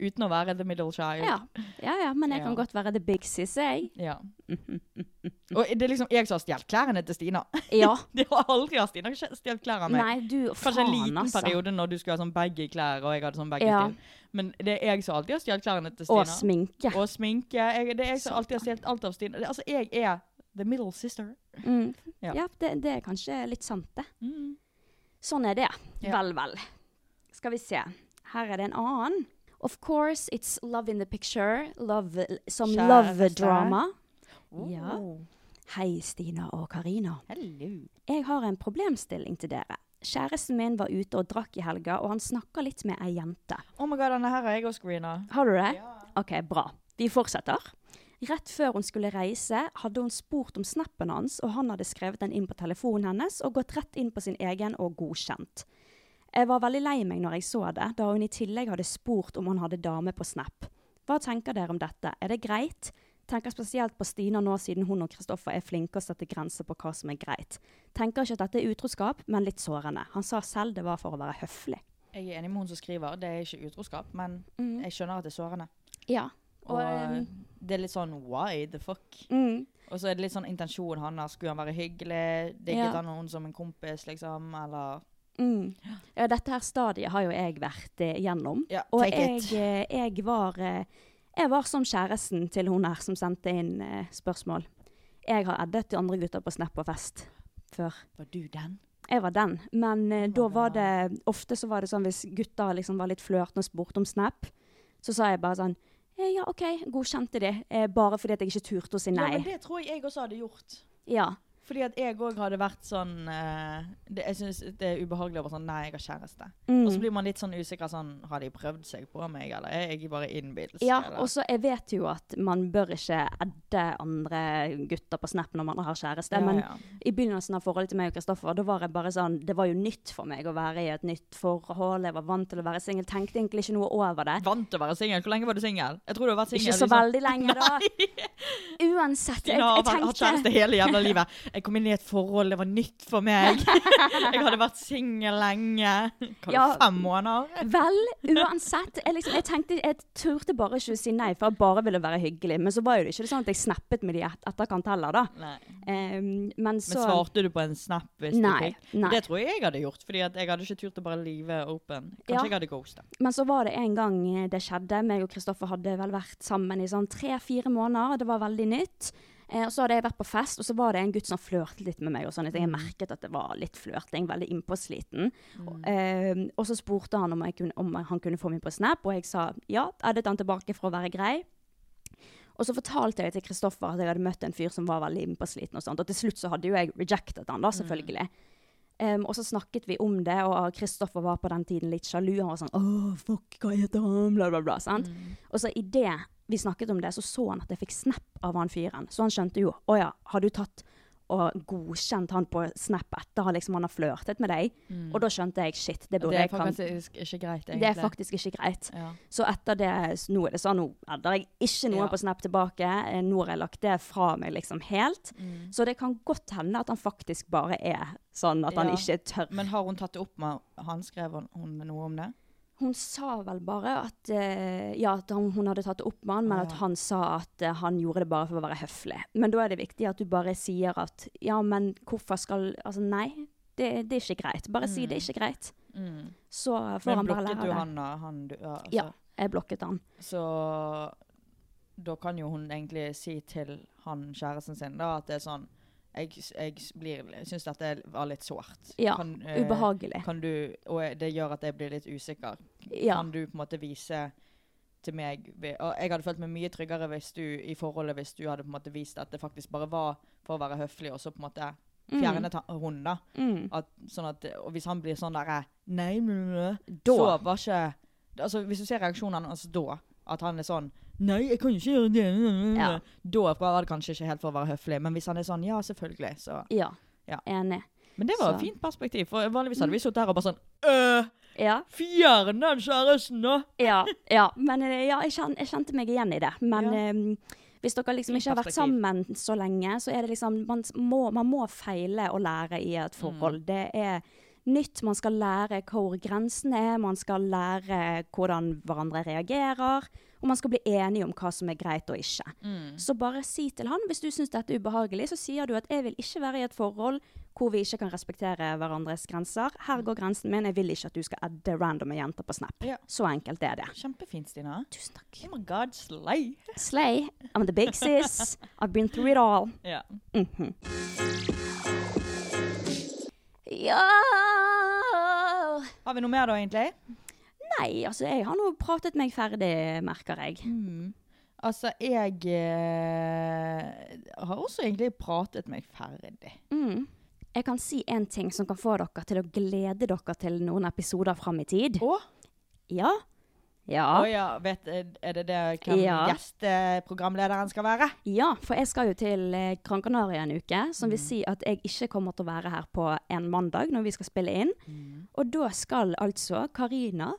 S3: uten å være the middle child.
S2: Ja, ja, ja men jeg kan
S3: Ja.
S2: godt være the big sis,
S3: <laughs>
S2: jeg. <laughs>
S3: Ja. og det er liksom jeg som har stjålet klærne til Stina. <laughs>
S2: Ja.
S3: Det har aldri har Stina stjålet klærne av meg.
S2: Nei, du,
S3: Kanskje en
S2: faen,
S3: liten
S2: altså.
S3: periode når du skulle ha sånn baggy klær, og jeg hadde sånn baggy
S2: Ja.
S3: til. Men det er jeg som alltid har stjålet klærne til Stina.
S2: Og sminke.
S3: Og sminke. Jeg, det er jeg som alltid har stjålet alt av Stine. Det- Altså, jeg er the middle sister.
S2: Mm.
S3: Ja. Mm.
S2: Ja, det, det er kanskje litt sant, det. Sånn er det.
S3: Ja.
S2: Vel, vel. Skal vi se. Her er det en annen. Of course, it's love in the picture. Love, som
S3: Kjæreste.
S2: love drama. Ja. Hei, Stina og Karina.
S3: Hello.
S2: Jeg har en problemstilling til dere. Kjæresten min var ute og drakk i helga, og han snakka litt med ei jente.
S3: Oh my god, denne her er jeg og screena.
S2: Har du det? OK, bra. Vi fortsetter. Rett før hun skulle reise, hadde hun spurt om snappen hans, og han hadde skrevet den inn på telefonen hennes og gått rett inn på sin egen og godkjent. Jeg var veldig lei meg når jeg så det, da hun i tillegg hadde spurt om han hadde dame på Snap. Hva tenker dere om dette, er det greit? Tenker spesielt på Stina nå siden hun og Kristoffer er flinke å sette grenser på hva som er greit. Tenker ikke at dette er utroskap, men litt sårende. Han sa selv det var for å være høflig.
S3: Jeg er enig med hun som skriver. Det er ikke utroskap, men
S2: Mm.
S3: jeg skjønner at det er sårende.
S2: Ja.
S3: Mm. Og
S2: eh,
S3: eh, det er litt sånn why the fuck?
S2: mm,
S3: Og så er det litt sånn intensjon hans. Skulle han være hyggelig? Digget
S2: Ja.
S3: han noen som en kompis, liksom? Eller
S2: Mm. Ja, dette her stadiet har jo jeg vært eh, gjennom.
S3: Ja,
S2: og
S3: take
S2: jeg,
S3: it.
S2: eh, jeg var eh, Jeg var som kjæresten til hun her som sendte inn eh, spørsmål. Jeg har eddet de andre gutter på Snap og fest før.
S3: Var du den?
S2: Jeg var den, men eh, da var det Ofte så var det sånn hvis gutter liksom var litt flørtende og spurte om Snap, så sa jeg bare sånn eh, Ja, OK, godkjente de. Eh, bare fordi at jeg ikke turte å si
S3: Ja, men
S2: nei.
S3: det tror jeg jeg også hadde gjort.
S2: Ja.
S3: Fordi at jeg òg hadde vært sånn eh, det, Jeg syns det er ubehagelig å være sånn Nei, jeg har kjæreste.
S2: Mm.
S3: Og så blir man litt sånn usikker sånn Har de prøvd seg på meg, eller er jeg bare innbilsk?
S2: Ja,
S3: eller?
S2: og så jeg vet jo at man bør ikke edde andre gutter på Snap når man har kjæreste,
S3: Ja,
S2: men
S3: ja.
S2: i begynnelsen av forholdet til meg og Kristoffer, da var jeg bare sånn Det var jo nytt for meg å være i et nytt forhold, jeg var vant til å være singel, tenkte egentlig ikke noe over det.
S3: Vant til å være singel. Hvor lenge var du singel? Jeg tror du har vært singel
S2: Ikke så veldig lenge,
S3: <laughs>
S2: da. Uansett, jeg,
S3: Jeg har
S2: jeg
S3: vært- hatt kjæreste
S2: tenkte
S3: hele jævla livet. Jeg kom inn i et forhold, det var nytt
S2: <laughs>
S3: for meg. Jeg hadde vært singel lenge. Kan
S2: Ja.
S3: fem måneder?
S2: Vel, uansett. Jeg, liksom, jeg tenkte, jeg turte bare ikke å si nei, for jeg bare ville være hyggelig. Men så var jo det ikke sånn at jeg snappet med de i et- etterkant heller, da.
S3: Nei.
S2: Ehm, men så
S3: Mm. Men svarte du på en snap hvis
S2: Nei,
S3: du fikk?
S2: nei.
S3: Det tror jeg jeg hadde gjort, fordi at jeg hadde ikke turt å bare live open. Kanskje
S2: Ja.
S3: jeg hadde ghosta.
S2: Men så var det en gang eh, det skjedde. Meg og Kristoffer hadde vel vært sammen i sånn tre-fire måneder. og Det var veldig nytt. Eh, og Så hadde jeg vært på fest, og så var det en gutt som flørtet litt med meg. og sånn. at Jeg merket at det var litt flørting, veldig innpåsliten. Og, eh, og så spurte han om, jeg kunne, om han kunne få meg på Snap, og jeg sa ja. Addet han tilbake for å være grei. Og så fortalte jeg til
S3: Mm.
S2: Kristoffer at jeg hadde møtt en fyr som var veldig innpåsliten. Og sånt. Og til slutt så hadde jo jeg rejectet han da, selvfølgelig. Em, og så snakket vi om det, og Kristoffer var på den tiden litt sjalu. Han var sånn 'Å, fuck, hva heter han?' bla, bla, bla. sant?
S3: Mm.
S2: Og så idet vi snakket om det, så så han at jeg fikk snap av han fyren. Så han skjønte jo 'Å ja, har du tatt og godkjent han på snap etter han liksom han har flørtet med deg?' Og da skjønte jeg 'Shit, det burde
S3: Mm. Det er
S2: jeg kan
S3: faktisk ikke greit, egentlig.
S2: Det er faktisk ikke greit.
S3: Ja.
S2: Så etter det, s- nå er det sånn, nå adder jeg ikke noen
S3: Ja.
S2: på Snap tilbake. Eh, Nå har jeg lagt det fra meg liksom helt.
S3: Mm.
S2: Så det kan godt hende at han faktisk bare er sånn at han
S3: Ja.
S2: ikke tør.
S3: Men har hun tatt det opp med han? Skrev hun, hun noe om det?
S2: Hun sa vel bare at, eh, ja, at han, hun hadde tatt det opp med han, men
S3: Å,
S2: at
S3: ja.
S2: han sa at eh, han gjorde det bare for å være høflig. Men da er det viktig at du bare sier at ja, men hvorfor skal Altså nei, det, det er ikke greit. Bare si det er ikke greit. Så får
S3: Mm. Men
S2: han bare
S3: blokket
S2: lære
S3: du
S2: det.
S3: han da? Han, du, ja, altså.
S2: Ja, jeg blokket han.
S3: Så da kan jo hun egentlig si til han kjæresten sin da, at det er sånn Jeg, jeg blir- jeg syns dette var litt sårt.
S2: Ja,
S3: Kan, eh,
S2: Ubehagelig.
S3: Kan du, og det gjør at jeg blir litt usikker.
S2: Ja.
S3: Kan du på en måte vise til meg ved- og Jeg hadde følt meg mye tryggere hvis du, i forholdet hvis du hadde på en måte vist at det faktisk bare var for å være høflig, og så på en måte fjernet han- hun, da.
S2: Mm.
S3: At, sånn at, og hvis han blir sånn derre Nei, men
S2: Da.
S3: Så var ikke altså, Hvis du ser reaksjonene hans da, at han er sånn Nei, jeg kan ikke gjøre det. mm, mm,
S2: Ja.
S3: Da var det kanskje ikke helt for å være høflig, men hvis han er sånn Ja, selvfølgelig, så
S2: Ja.
S3: Ja.
S2: Enig.
S3: Men det
S2: Så.
S3: var et fint perspektiv, for vanligvis hadde vi sittet her og bare sånn Øh,
S2: Ja,
S3: fjern den kjæresten, da!
S2: ja, ja. Men eh, ja, jeg, kjen, jeg kjente meg igjen i det. Men
S3: Ja.
S2: eh, hvis dere liksom
S3: Litt
S2: ikke har vært
S3: perspektiv.
S2: sammen så lenge, så er det liksom Man s- må, man må feile og lære i et forhold. Det er nytt. Man skal lære hvor grensen er, man skal lære hvordan hverandre reagerer. Og man skal bli enige om hva som er greit og ikke. Så bare si til han hvis du syns dette er ubehagelig, så sier du at 'jeg vil ikke være i et forhold hvor vi ikke kan respektere hverandres grenser'. 'Her går grensen min, jeg vil ikke at du skal adde randome jenter på Snap'.
S3: Ja.
S2: Så enkelt er det.
S3: Kjempefint, Stina.
S2: Tusen takk.
S3: Oh my god, slay!
S2: Slay. I'm the big sis. I've been through it all.
S3: Ja.
S2: Mhm. Ja
S3: Har vi noe mer da, egentlig?
S2: Nei, altså, jeg har nå pratet meg ferdig, merker jeg.
S3: Altså, jeg eh, har også egentlig pratet meg ferdig.
S2: Mm. Jeg kan si en ting som kan få dere til å glede dere til noen episoder fram i tid.
S3: Å?
S2: Ja.
S3: Å
S2: Ja.
S3: ja, vet, er det det hvem
S2: Ah. Ja.
S3: gjesteprogramlederen skal være?
S2: ja, for jeg skal jo til eh, Gran Canaria en uke, som vil si at jeg ikke kommer til å være her på en mandag når vi skal spille inn. Og da skal altså Karina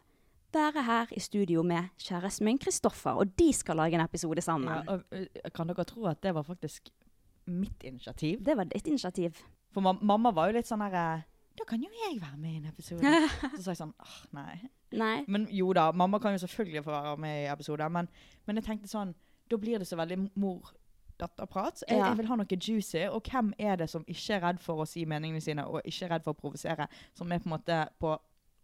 S2: være her i studio med kjæresten min Kristoffer, og de skal lage en episode
S3: Ja,
S2: sammen.
S3: og, eh, kan dere tro at det var faktisk mitt initiativ?
S2: Det var ditt initiativ.
S3: For ma mamma var jo litt sånn her eh, Da kan jo jeg være med i en
S2: <laughs>
S3: episode. Så sa jeg sånn Åh, nei.
S2: Nei.
S3: Men jo da, mamma kan jo selvfølgelig få være med i episoder, men, men jeg tenkte sånn Da blir det så veldig mor-datter-prat. Jeg,
S2: Ja.
S3: jeg vil ha noe juicy. Og hvem er det som ikke er redd for å si meningene sine, og ikke er redd for å provosere, som er på en måte på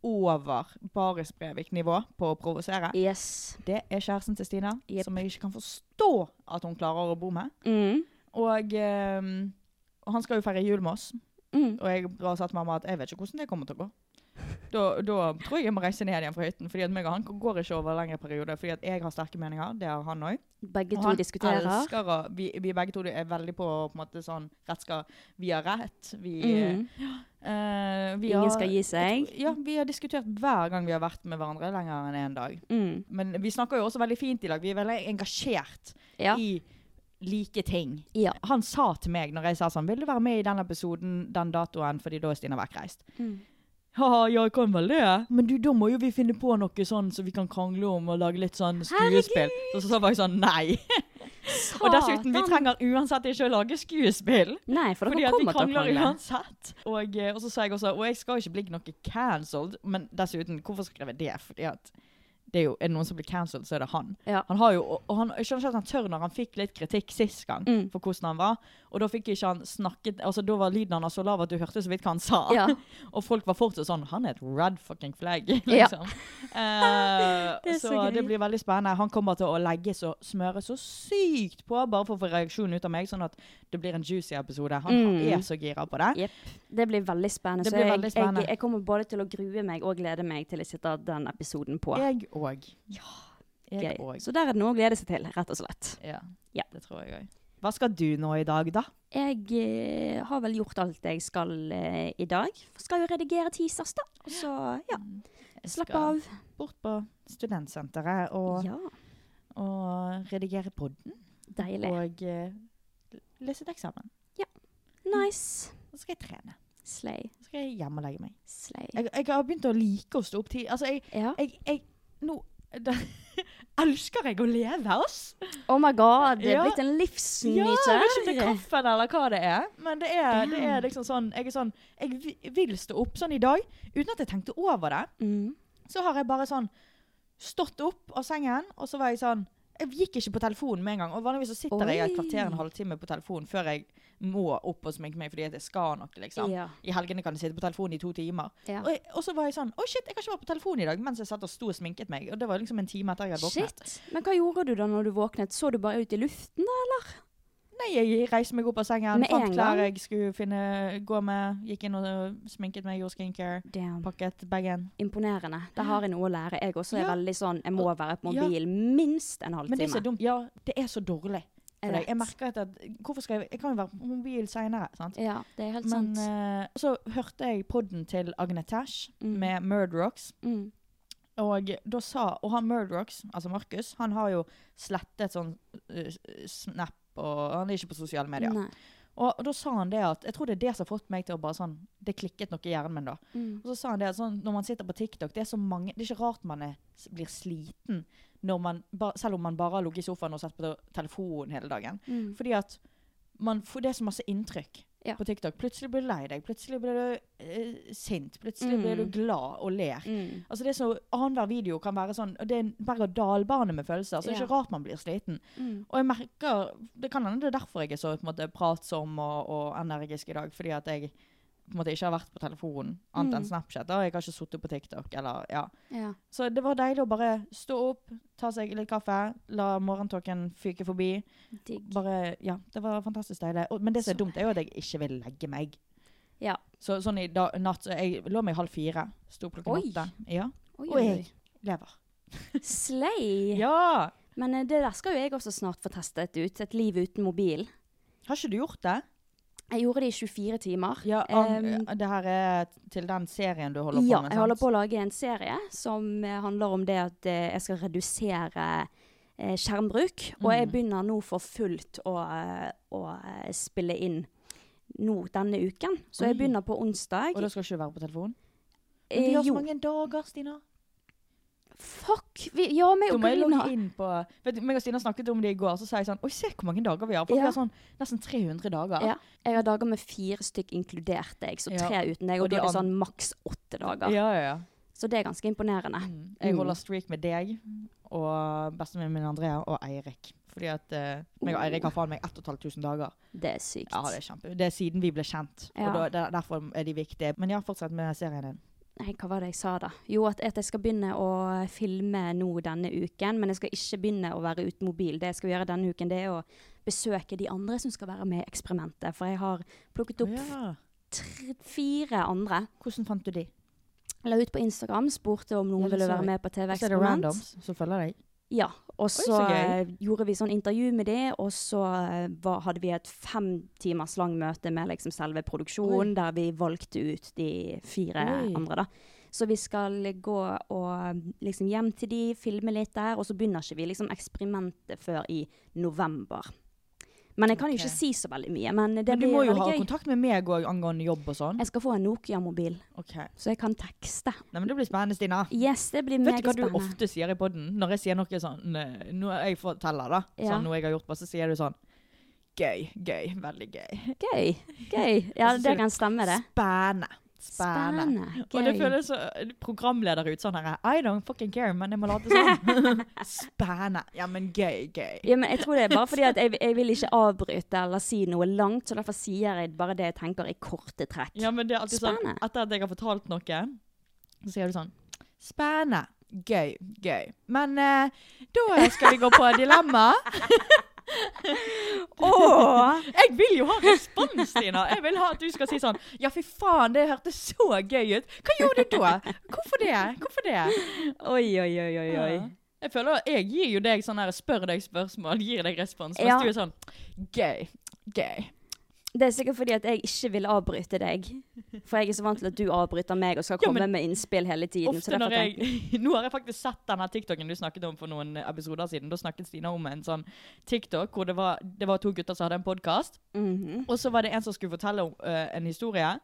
S3: over Baris Brevik-nivå på å provosere?
S2: Yes.
S3: Det er kjæresten til Stina,
S2: Jep.
S3: som jeg ikke kan forstå at hun klarer å bo med.
S2: Mm.
S3: Og, ehm, og han skal jo feire jul med oss.
S2: Mm.
S3: Og jeg bare sa til mamma at jeg vet ikke hvordan det kommer til å gå. Da, da tror jeg jeg må reise ned igjen fra hytten, fordi at meg og han går ikke over lengre perioder. Fordi at jeg har sterke meninger, det har han òg.
S2: Begge
S3: Og
S2: to
S3: han
S2: diskuterer.
S3: elsker å vi, vi begge to er veldig på, på en måte sånn rett skal Vi har rett. Vi,
S2: Mm.
S3: eh, vi
S2: Ingen
S3: har-
S2: skal gi seg.
S3: Ja, vi har diskutert hver gang vi har vært med hverandre lenger enn én dag.
S2: Mm.
S3: Men vi snakker jo også veldig fint i lag. Vi er veldig engasjert
S2: Ja.
S3: i like ting.
S2: Ja.
S3: Han sa til meg når jeg sa sånn, vil du være med i den episoden, den datoen, fordi da er Stina vekkreist.
S2: Mm.
S3: Haha, ja, jeg kan vel det. Men du, da må jo vi finne på noe sånn så vi kan krangle om og lage litt sånn skuespill. Så, så var jeg sånn, nei. Og dessuten, vi
S2: Satan.
S3: trenger uansett ikke å lage skuespill.
S2: Nei, for
S3: Fordi
S2: dere
S3: at vi
S2: kommer til å
S3: krangler
S2: krangle.
S3: uansett. Og, eh, og så sa jeg også Og jeg skal jo ikke bli noe cancelled, men dessuten, hvorfor skrev jeg det? Fordi at det er jo, er det noen som blir cancelled, så er det han.
S2: Ja.
S3: Han har jo, og- og han, jeg skjønner ikke at han tør når han fikk litt kritikk sist gang
S2: Mm.
S3: for hvordan han var. Og da fikk ikke han snakket altså Da var lyden hans så lav at du hørte så vidt hva han sa.
S2: Ja.
S3: og folk var fortsatt sånn Han er et red fucking flag, <laughs>
S2: Ja. <laughs>
S3: liksom. Eh,
S2: Det er
S3: så,
S2: så gøy.
S3: det blir veldig spennende. Han kommer til å legges og smøre så sykt på bare for å få reaksjon ut av meg, sånn at det blir en juicy episode. Han
S2: Mm.
S3: er så gira på det.
S2: Jepp. Det blir veldig spennende.
S3: Det
S2: så
S3: blir
S2: jeg,
S3: veldig spennende.
S2: Jeg, jeg kommer både til å grue meg og glede meg til jeg sitter den episoden på.
S3: Jeg òg. Ja, jeg
S2: Gøy.
S3: òg.
S2: Så der er det noe å glede seg til, rett og slett.
S3: Ja,
S2: Ja.
S3: det tror jeg òg. Hva skal du nå i dag, da?
S2: Jeg eh, har vel gjort alt jeg skal eh, i dag. Skal jo redigere teasers, da. Og Så ja,
S3: Mm. Jeg
S2: slapp
S3: skal
S2: av.
S3: Bort på studentsenteret og,
S2: Ja,
S3: og redigere podden
S2: deilig.
S3: og eh, lese et eksamen.
S2: Nice.
S3: Så skal jeg trene.
S2: Slay.
S3: Så skal jeg hjem og legge meg.
S2: Slay.
S3: Jeg, jeg har begynt å like å stå opp tidlig. Altså, jeg,
S2: Ja.
S3: jeg, jeg Nå da, <laughs> elsker jeg å leve, ass!
S2: Oh my god, det er
S3: Ja.
S2: blitt en
S3: jeg vet ikke om det er
S2: livsnyter.
S3: kaffen eller hva det er, men det er, det
S2: Damn.
S3: er liksom sånn Jeg er sånn Jeg vi- vil stå opp sånn i dag, uten at jeg tenkte over det.
S2: Mm.
S3: Så har jeg bare sånn stått opp av sengen, og så var jeg sånn Jeg gikk ikke på telefonen med en gang. Og vanligvis så sitter jeg et
S2: Oi.
S3: kvarter en halvtime på telefonen før jeg må opp og sminke meg fordi at jeg skal noe, liksom.
S2: Ja.
S3: I helgene kan jeg sitte på telefonen i to timer.
S2: Ja.
S3: Og, jeg, og så var jeg sånn Å, shit, jeg kan ikke være på telefonen i dag, mens jeg satt og sto og sminket meg. Og det var liksom en time etter jeg hadde våknet.
S2: Shit. Men hva gjorde du da når du våknet? Så du bare ut i luften, da, eller?
S3: Nei, jeg reiste meg opp av sengen,
S2: Med en
S3: fant
S2: gang?
S3: klær jeg skulle finne, gå med, gikk inn og øh, sminket meg, gjorde skincare,
S2: Damn.
S3: pakket bagen.
S2: Imponerende. Der har jeg noe å lære. Jeg også er
S3: Ja.
S2: veldig sånn Jeg må være på
S3: Ja.
S2: mobilen minst en
S3: Men det er så
S2: halvtime.
S3: dumt. Ja, det er så dårlig.
S2: Jeg
S3: For deg.
S2: vet.
S3: Jeg merker at, at hvorfor skal jeg, jeg kan jo være på mobil senere, sant?
S2: Ja, det er helt
S3: Men
S2: sant.
S3: eh, så hørte jeg podden til Agne Tash
S2: Mm.
S3: med Murdrocks,
S2: Mm.
S3: og da sa, og han Murdrocks, altså Markus, han har jo slettet sånn eh, snap, og han er ikke på sosiale medier.
S2: Nei.
S3: Og da sa han det at, jeg tror det er det som har fått meg til å bare sånn, det klikket noe i hjernen min da.
S2: Mm.
S3: Og så sa han det at sånn, når man sitter på TikTok, det er så mange, det er ikke rart man er, blir sliten, når man, ba, selv om man bare har ligget i sofaen og sett på telefonen hele dagen.
S2: Mm.
S3: Fordi at man får det er så masse inntrykk
S2: Ja.
S3: på TikTok. Plutselig blir du lei deg, plutselig blir du eh, sint, plutselig blir
S2: Mm.
S3: du glad og ler.
S2: Mm.
S3: Altså det er så, Annenhver video kan være sånn, og det er en berg-og-dal-bane med følelser, så det er
S2: Ja.
S3: ikke rart man blir sliten.
S2: Mm.
S3: Og jeg merker, Det kan hende det er derfor jeg er så på en måte, pratsom og, og energisk i dag. Fordi at jeg på en måte, ikke har vært på telefonen, annet
S2: Mm.
S3: enn Snapchat. Og jeg har ikke sittet på TikTok. Eller, ja.
S2: Ja.
S3: Så det var deilig å bare stå opp, ta seg litt kaffe, la morgentåken fyke forbi.
S2: Digg.
S3: Bare, ja, Det var fantastisk deilig. Og, men det som
S2: Så
S3: er dumt, er jo at jeg ikke vil legge meg.
S2: Ja.
S3: Så, sånn i dag, natt, så Jeg lå meg halv fire. Sto klokken
S2: Oi.
S3: åtte. Ja.
S2: Oi,
S3: Og
S2: oi,
S3: jeg
S2: oi.
S3: lever.
S2: Slay.
S3: Ja!
S2: Men eh, det der skal jo jeg også snart få testet ut. Et liv uten mobil.
S3: Har ikke du gjort det?
S2: Jeg gjorde det i 24 timer.
S3: Ja,
S2: Em,
S3: an, det her er til den serien du holder på
S2: ja,
S3: med?
S2: jeg holder på å lage en serie som eh, handler om det at eh, jeg skal redusere eh, skjermbruk. Og jeg
S3: Mm.
S2: begynner nå for fullt å, eh, å eh, spille inn nå denne uken. Så jeg
S3: Oi.
S2: begynner på onsdag.
S3: Og da skal ikke du være på telefonen? Men
S2: Eh,
S3: vi har så
S2: jo,
S3: mange dager, Stina.
S2: fuck! Vi, ja, vi er
S3: Da
S2: jo
S3: må jeg logge
S2: griner.
S3: inn på Vet du, meg og Stina snakket om det i går, så sa jeg sånn Oi, se hvor mange dager vi har. For
S2: Ja.
S3: vi har sånn nesten 300 dager.
S2: Ja. Jeg har dager med fire stykk inkludert deg, så
S3: Ja.
S2: tre uten deg. Og,
S3: Og de
S2: da er det
S3: an-
S2: sånn maks åtte dager.
S3: ja, ja. ja.
S2: Så det er ganske imponerende.
S3: Mm. Jeg
S2: Mm.
S3: holder streak med deg og bestevennen min Andrea og Eirik. Fordi at eh, meg og Eirik har faen meg 1500 dager.
S2: Det er sykt.
S3: Ja, det er kjempe. Det er siden vi ble kjent.
S2: Ja.
S3: Og da, der, derfor er de viktige. Men ja, fortsett med serien din.
S2: Nei, hva var det jeg sa da? Jo, at, at jeg skal begynne å filme nå denne uken, men jeg skal ikke begynne å være uten mobil. Det jeg skal gjøre denne uken, det er å besøke de andre som skal være med i eksperimentet. For jeg har plukket opp
S3: Ja.
S2: tre, fire andre.
S3: Hvordan fant du de?
S2: La ut på Instagram, spurte om
S3: Ja,
S2: noen
S3: det
S2: ville
S3: så
S2: være
S3: jeg.
S2: med på
S3: Så er det
S2: TV-eksperiment.
S3: randoms som følger deg.
S2: Ja, og
S3: så
S2: så eh,
S3: gøy.
S2: gjorde vi sånn intervju med det, og så eh, var, hadde vi et fem timers lang møte med liksom selve produksjonen, der vi valgte ut de fire
S3: Oi.
S2: andre, da. Så vi skal gå og eh, liksom hjem til de, filme litt der, og så begynner ikke vi liksom eksperimentet før i november. Men jeg kan jo
S3: Ok.
S2: ikke si så veldig mye, men det
S3: Men du må
S2: blir
S3: jo ha
S2: veldig gøy.
S3: kontakt med meg òg angående jobb og sånn.
S2: Jeg skal få en Nokia-mobil,
S3: Ok.
S2: så jeg kan tekste.
S3: Nei, men Det blir spennende, Stina.
S2: Yes, det blir
S3: Vet du
S2: meget
S3: hva du
S2: spennende.
S3: ofte sier i poden? Når jeg sier noe sånn eh, Noe jeg forteller, da.
S2: Ja.
S3: Sånn noe jeg har gjort på, så sier du sånn Gøy, gøy, veldig gøy.
S2: Gøy. <laughs> Gøy. Ja,
S3: Og så sier
S2: det
S3: du,
S2: kan stemme, det.
S3: Spennende. Spennende.
S2: Spennende.
S3: Og det
S2: Gøy.
S3: føles så eh, programleder ut sånn her I don't fucking care, men jeg må late sånn.
S2: <laughs>
S3: <laughs> Spennende. Ja, men gøy, gøy.
S2: Ja, men jeg tror det er bare fordi at jeg, jeg vil ikke avbryte eller si noe langt, så derfor sier jeg bare det jeg tenker i korte trekk.
S3: Ja, men det er alltid sånn
S2: Spennende.
S3: Etter at jeg har fortalt noe, så sier du sånn Spennende. Gøy, gøy. Men eh, da skal vi gå på
S2: <laughs>
S3: dilemma.
S2: Åh!
S3: Jeg vil jo ha respons, Stina. Jeg vil ha at du skal si sånn Ja, fy faen, det hørtes så gøy ut. Hva gjorde du da? Hvorfor det? Hvorfor det?
S2: Oi, oi, oi, oi, oi.
S3: Ja. Jeg føler jeg gir jo deg sånn her, spør deg spørsmål, gir deg respons. Mens
S2: Ja.
S3: du er sånn gøy, gøy.
S2: Det er sikkert fordi at jeg ikke vil avbryte deg. For jeg er så vant til at du avbryter meg og skal
S3: Ja,
S2: komme
S3: men
S2: med innspill hele tiden. så
S3: Ofte
S2: derfor
S3: når
S2: tenker-
S3: jeg <laughs> Nå har jeg faktisk sett denne TikToken du snakket om for noen episoder siden. Da snakket Stina om en sånn TikTok hvor det var, det var to gutter som hadde en podkast.
S2: Mhm.
S3: Og så var det en som skulle fortelle om, eh, en historie,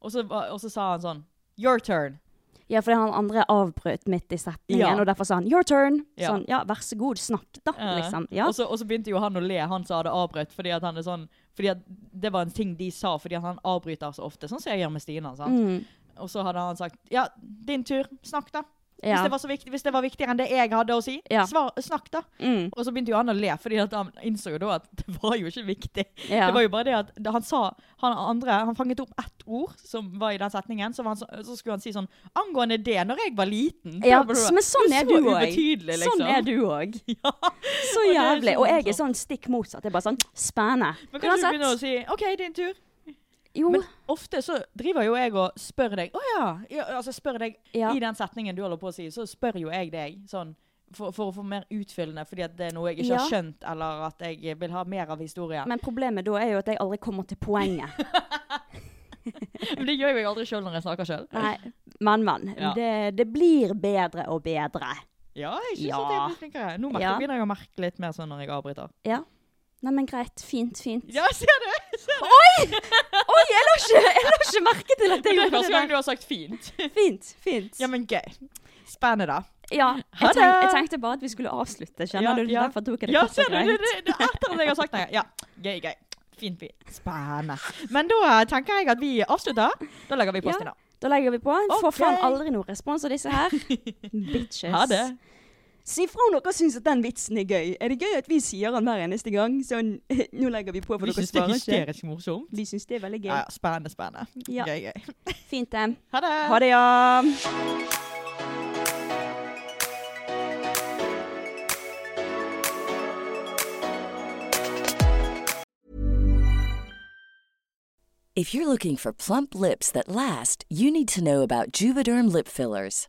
S3: og så, var- og så sa han sånn Your turn.
S2: Ja, fordi han andre avbrøt midt i setningen,
S3: Ja.
S2: og derfor sa han 'your turn'.
S3: Ja.
S2: Sånn, ja, vær så god, snakk da,
S3: Eh,
S2: liksom. Ja.
S3: Og, så, og så begynte jo han å le, han som hadde avbrøtt, fordi at han er sånn Fordi at det var en ting de sa, fordi at han avbryter så ofte, sånn som jeg gjør med Stina. sant?
S2: Mm,
S3: Og så hadde han sagt Ja, din tur. Snakk, da. Hvis,
S2: ja.
S3: det var så viktig, hvis det var viktigere enn det jeg hadde å si,
S2: Ja.
S3: svar, snakk, da.
S2: Mm,
S3: Og så begynte jo han å le, fordi at han innså jo da at det var jo ikke viktig.
S2: ja.
S3: Det var jo bare det at da han sa Han andre, han fanget opp ett ord som var i den setningen, så, var han, så, så skulle han si sånn Angående det, når jeg var liten
S2: ja,
S3: bla, bla, bla.
S2: men sånn er du
S3: Så
S2: òg.
S3: ubetydelig, liksom.
S2: Sånn er du òg.
S3: <laughs> Ja.
S2: Så
S3: Og det er
S2: jævlig.
S3: sånn
S2: Og jeg er
S3: sånn.
S2: sånn stikk motsatt. Det er bare sånn spennende.
S3: Men kan du begynne å si OK, din tur.
S2: Jo.
S3: Men ofte så driver jo jeg og spør deg Å ja. ja. Altså spør deg
S2: Ja.
S3: i den setningen du holder på å si, så spør jo jeg deg sånn for, for å få mer utfyllende, fordi at det er noe jeg ikke har
S2: Ja.
S3: skjønt, eller at jeg vil ha mer av historien.
S2: Men problemet da er jo at jeg aldri kommer til poenget.
S3: <laughs> Men det gjør jo jeg aldri sjøl når jeg snakker sjøl.
S2: Nei, men, men.
S3: Ja.
S2: Det, det blir bedre og bedre.
S3: Ja, jeg synes
S2: Ja.
S3: at jeg blir flinkere. Nå merker,
S2: Ja.
S3: begynner jeg å merke litt mer sånn når jeg avbryter.
S2: Ja. Nei, men greit. Fint, fint.
S3: Ja, ser du? Ser du? <laughs>
S2: Oi! Oi, jeg la ikke, jeg la ikke merke til at
S3: Det
S2: jeg
S3: er
S2: gjorde
S3: første
S2: det.
S3: gang du har sagt fint.
S2: der. Fint, fint.
S3: <laughs> Ja, men gøy. Spennende, da.
S2: Ja,
S3: Ha
S2: jeg, tenk,
S3: det.
S2: jeg tenkte bare at vi skulle avslutte,
S3: Ja,
S2: kjenner du?
S3: ja.
S2: Derfor tok jeg det
S3: Ja,
S2: kort
S3: ser
S2: og
S3: du? Det,
S2: greit.
S3: det, det, er etter at jeg har sagt det. Ja, gøy, gøy. Fint, fint. Spennende. Men da eh, tenker jeg at vi avslutter. Da legger vi på
S2: Ja.
S3: Stina.
S2: Da legger vi på. Får
S3: Ok.
S2: faen aldri noen respons av disse
S3: <laughs>
S2: her. Bitches.
S3: Ha det.
S2: Si fra om dere syns at den vitsen er gøy. Er det gøy at vi sier den hver eneste gang? Sånn, <laughs> nå legger vi på, for
S3: Vi
S2: dere
S3: syns det er
S2: svarer ikke.
S3: hysterisk morsomt.
S2: Vi syns det er veldig gøy.
S3: Ja, ja, spennende, spennende.
S2: Ja.
S3: Gøy, gøy.
S2: Fint, det.
S3: Ha det.
S2: Ha det, ja.
S1: If you're looking for plump lips that last, you need to know about Juvederm lip fillers.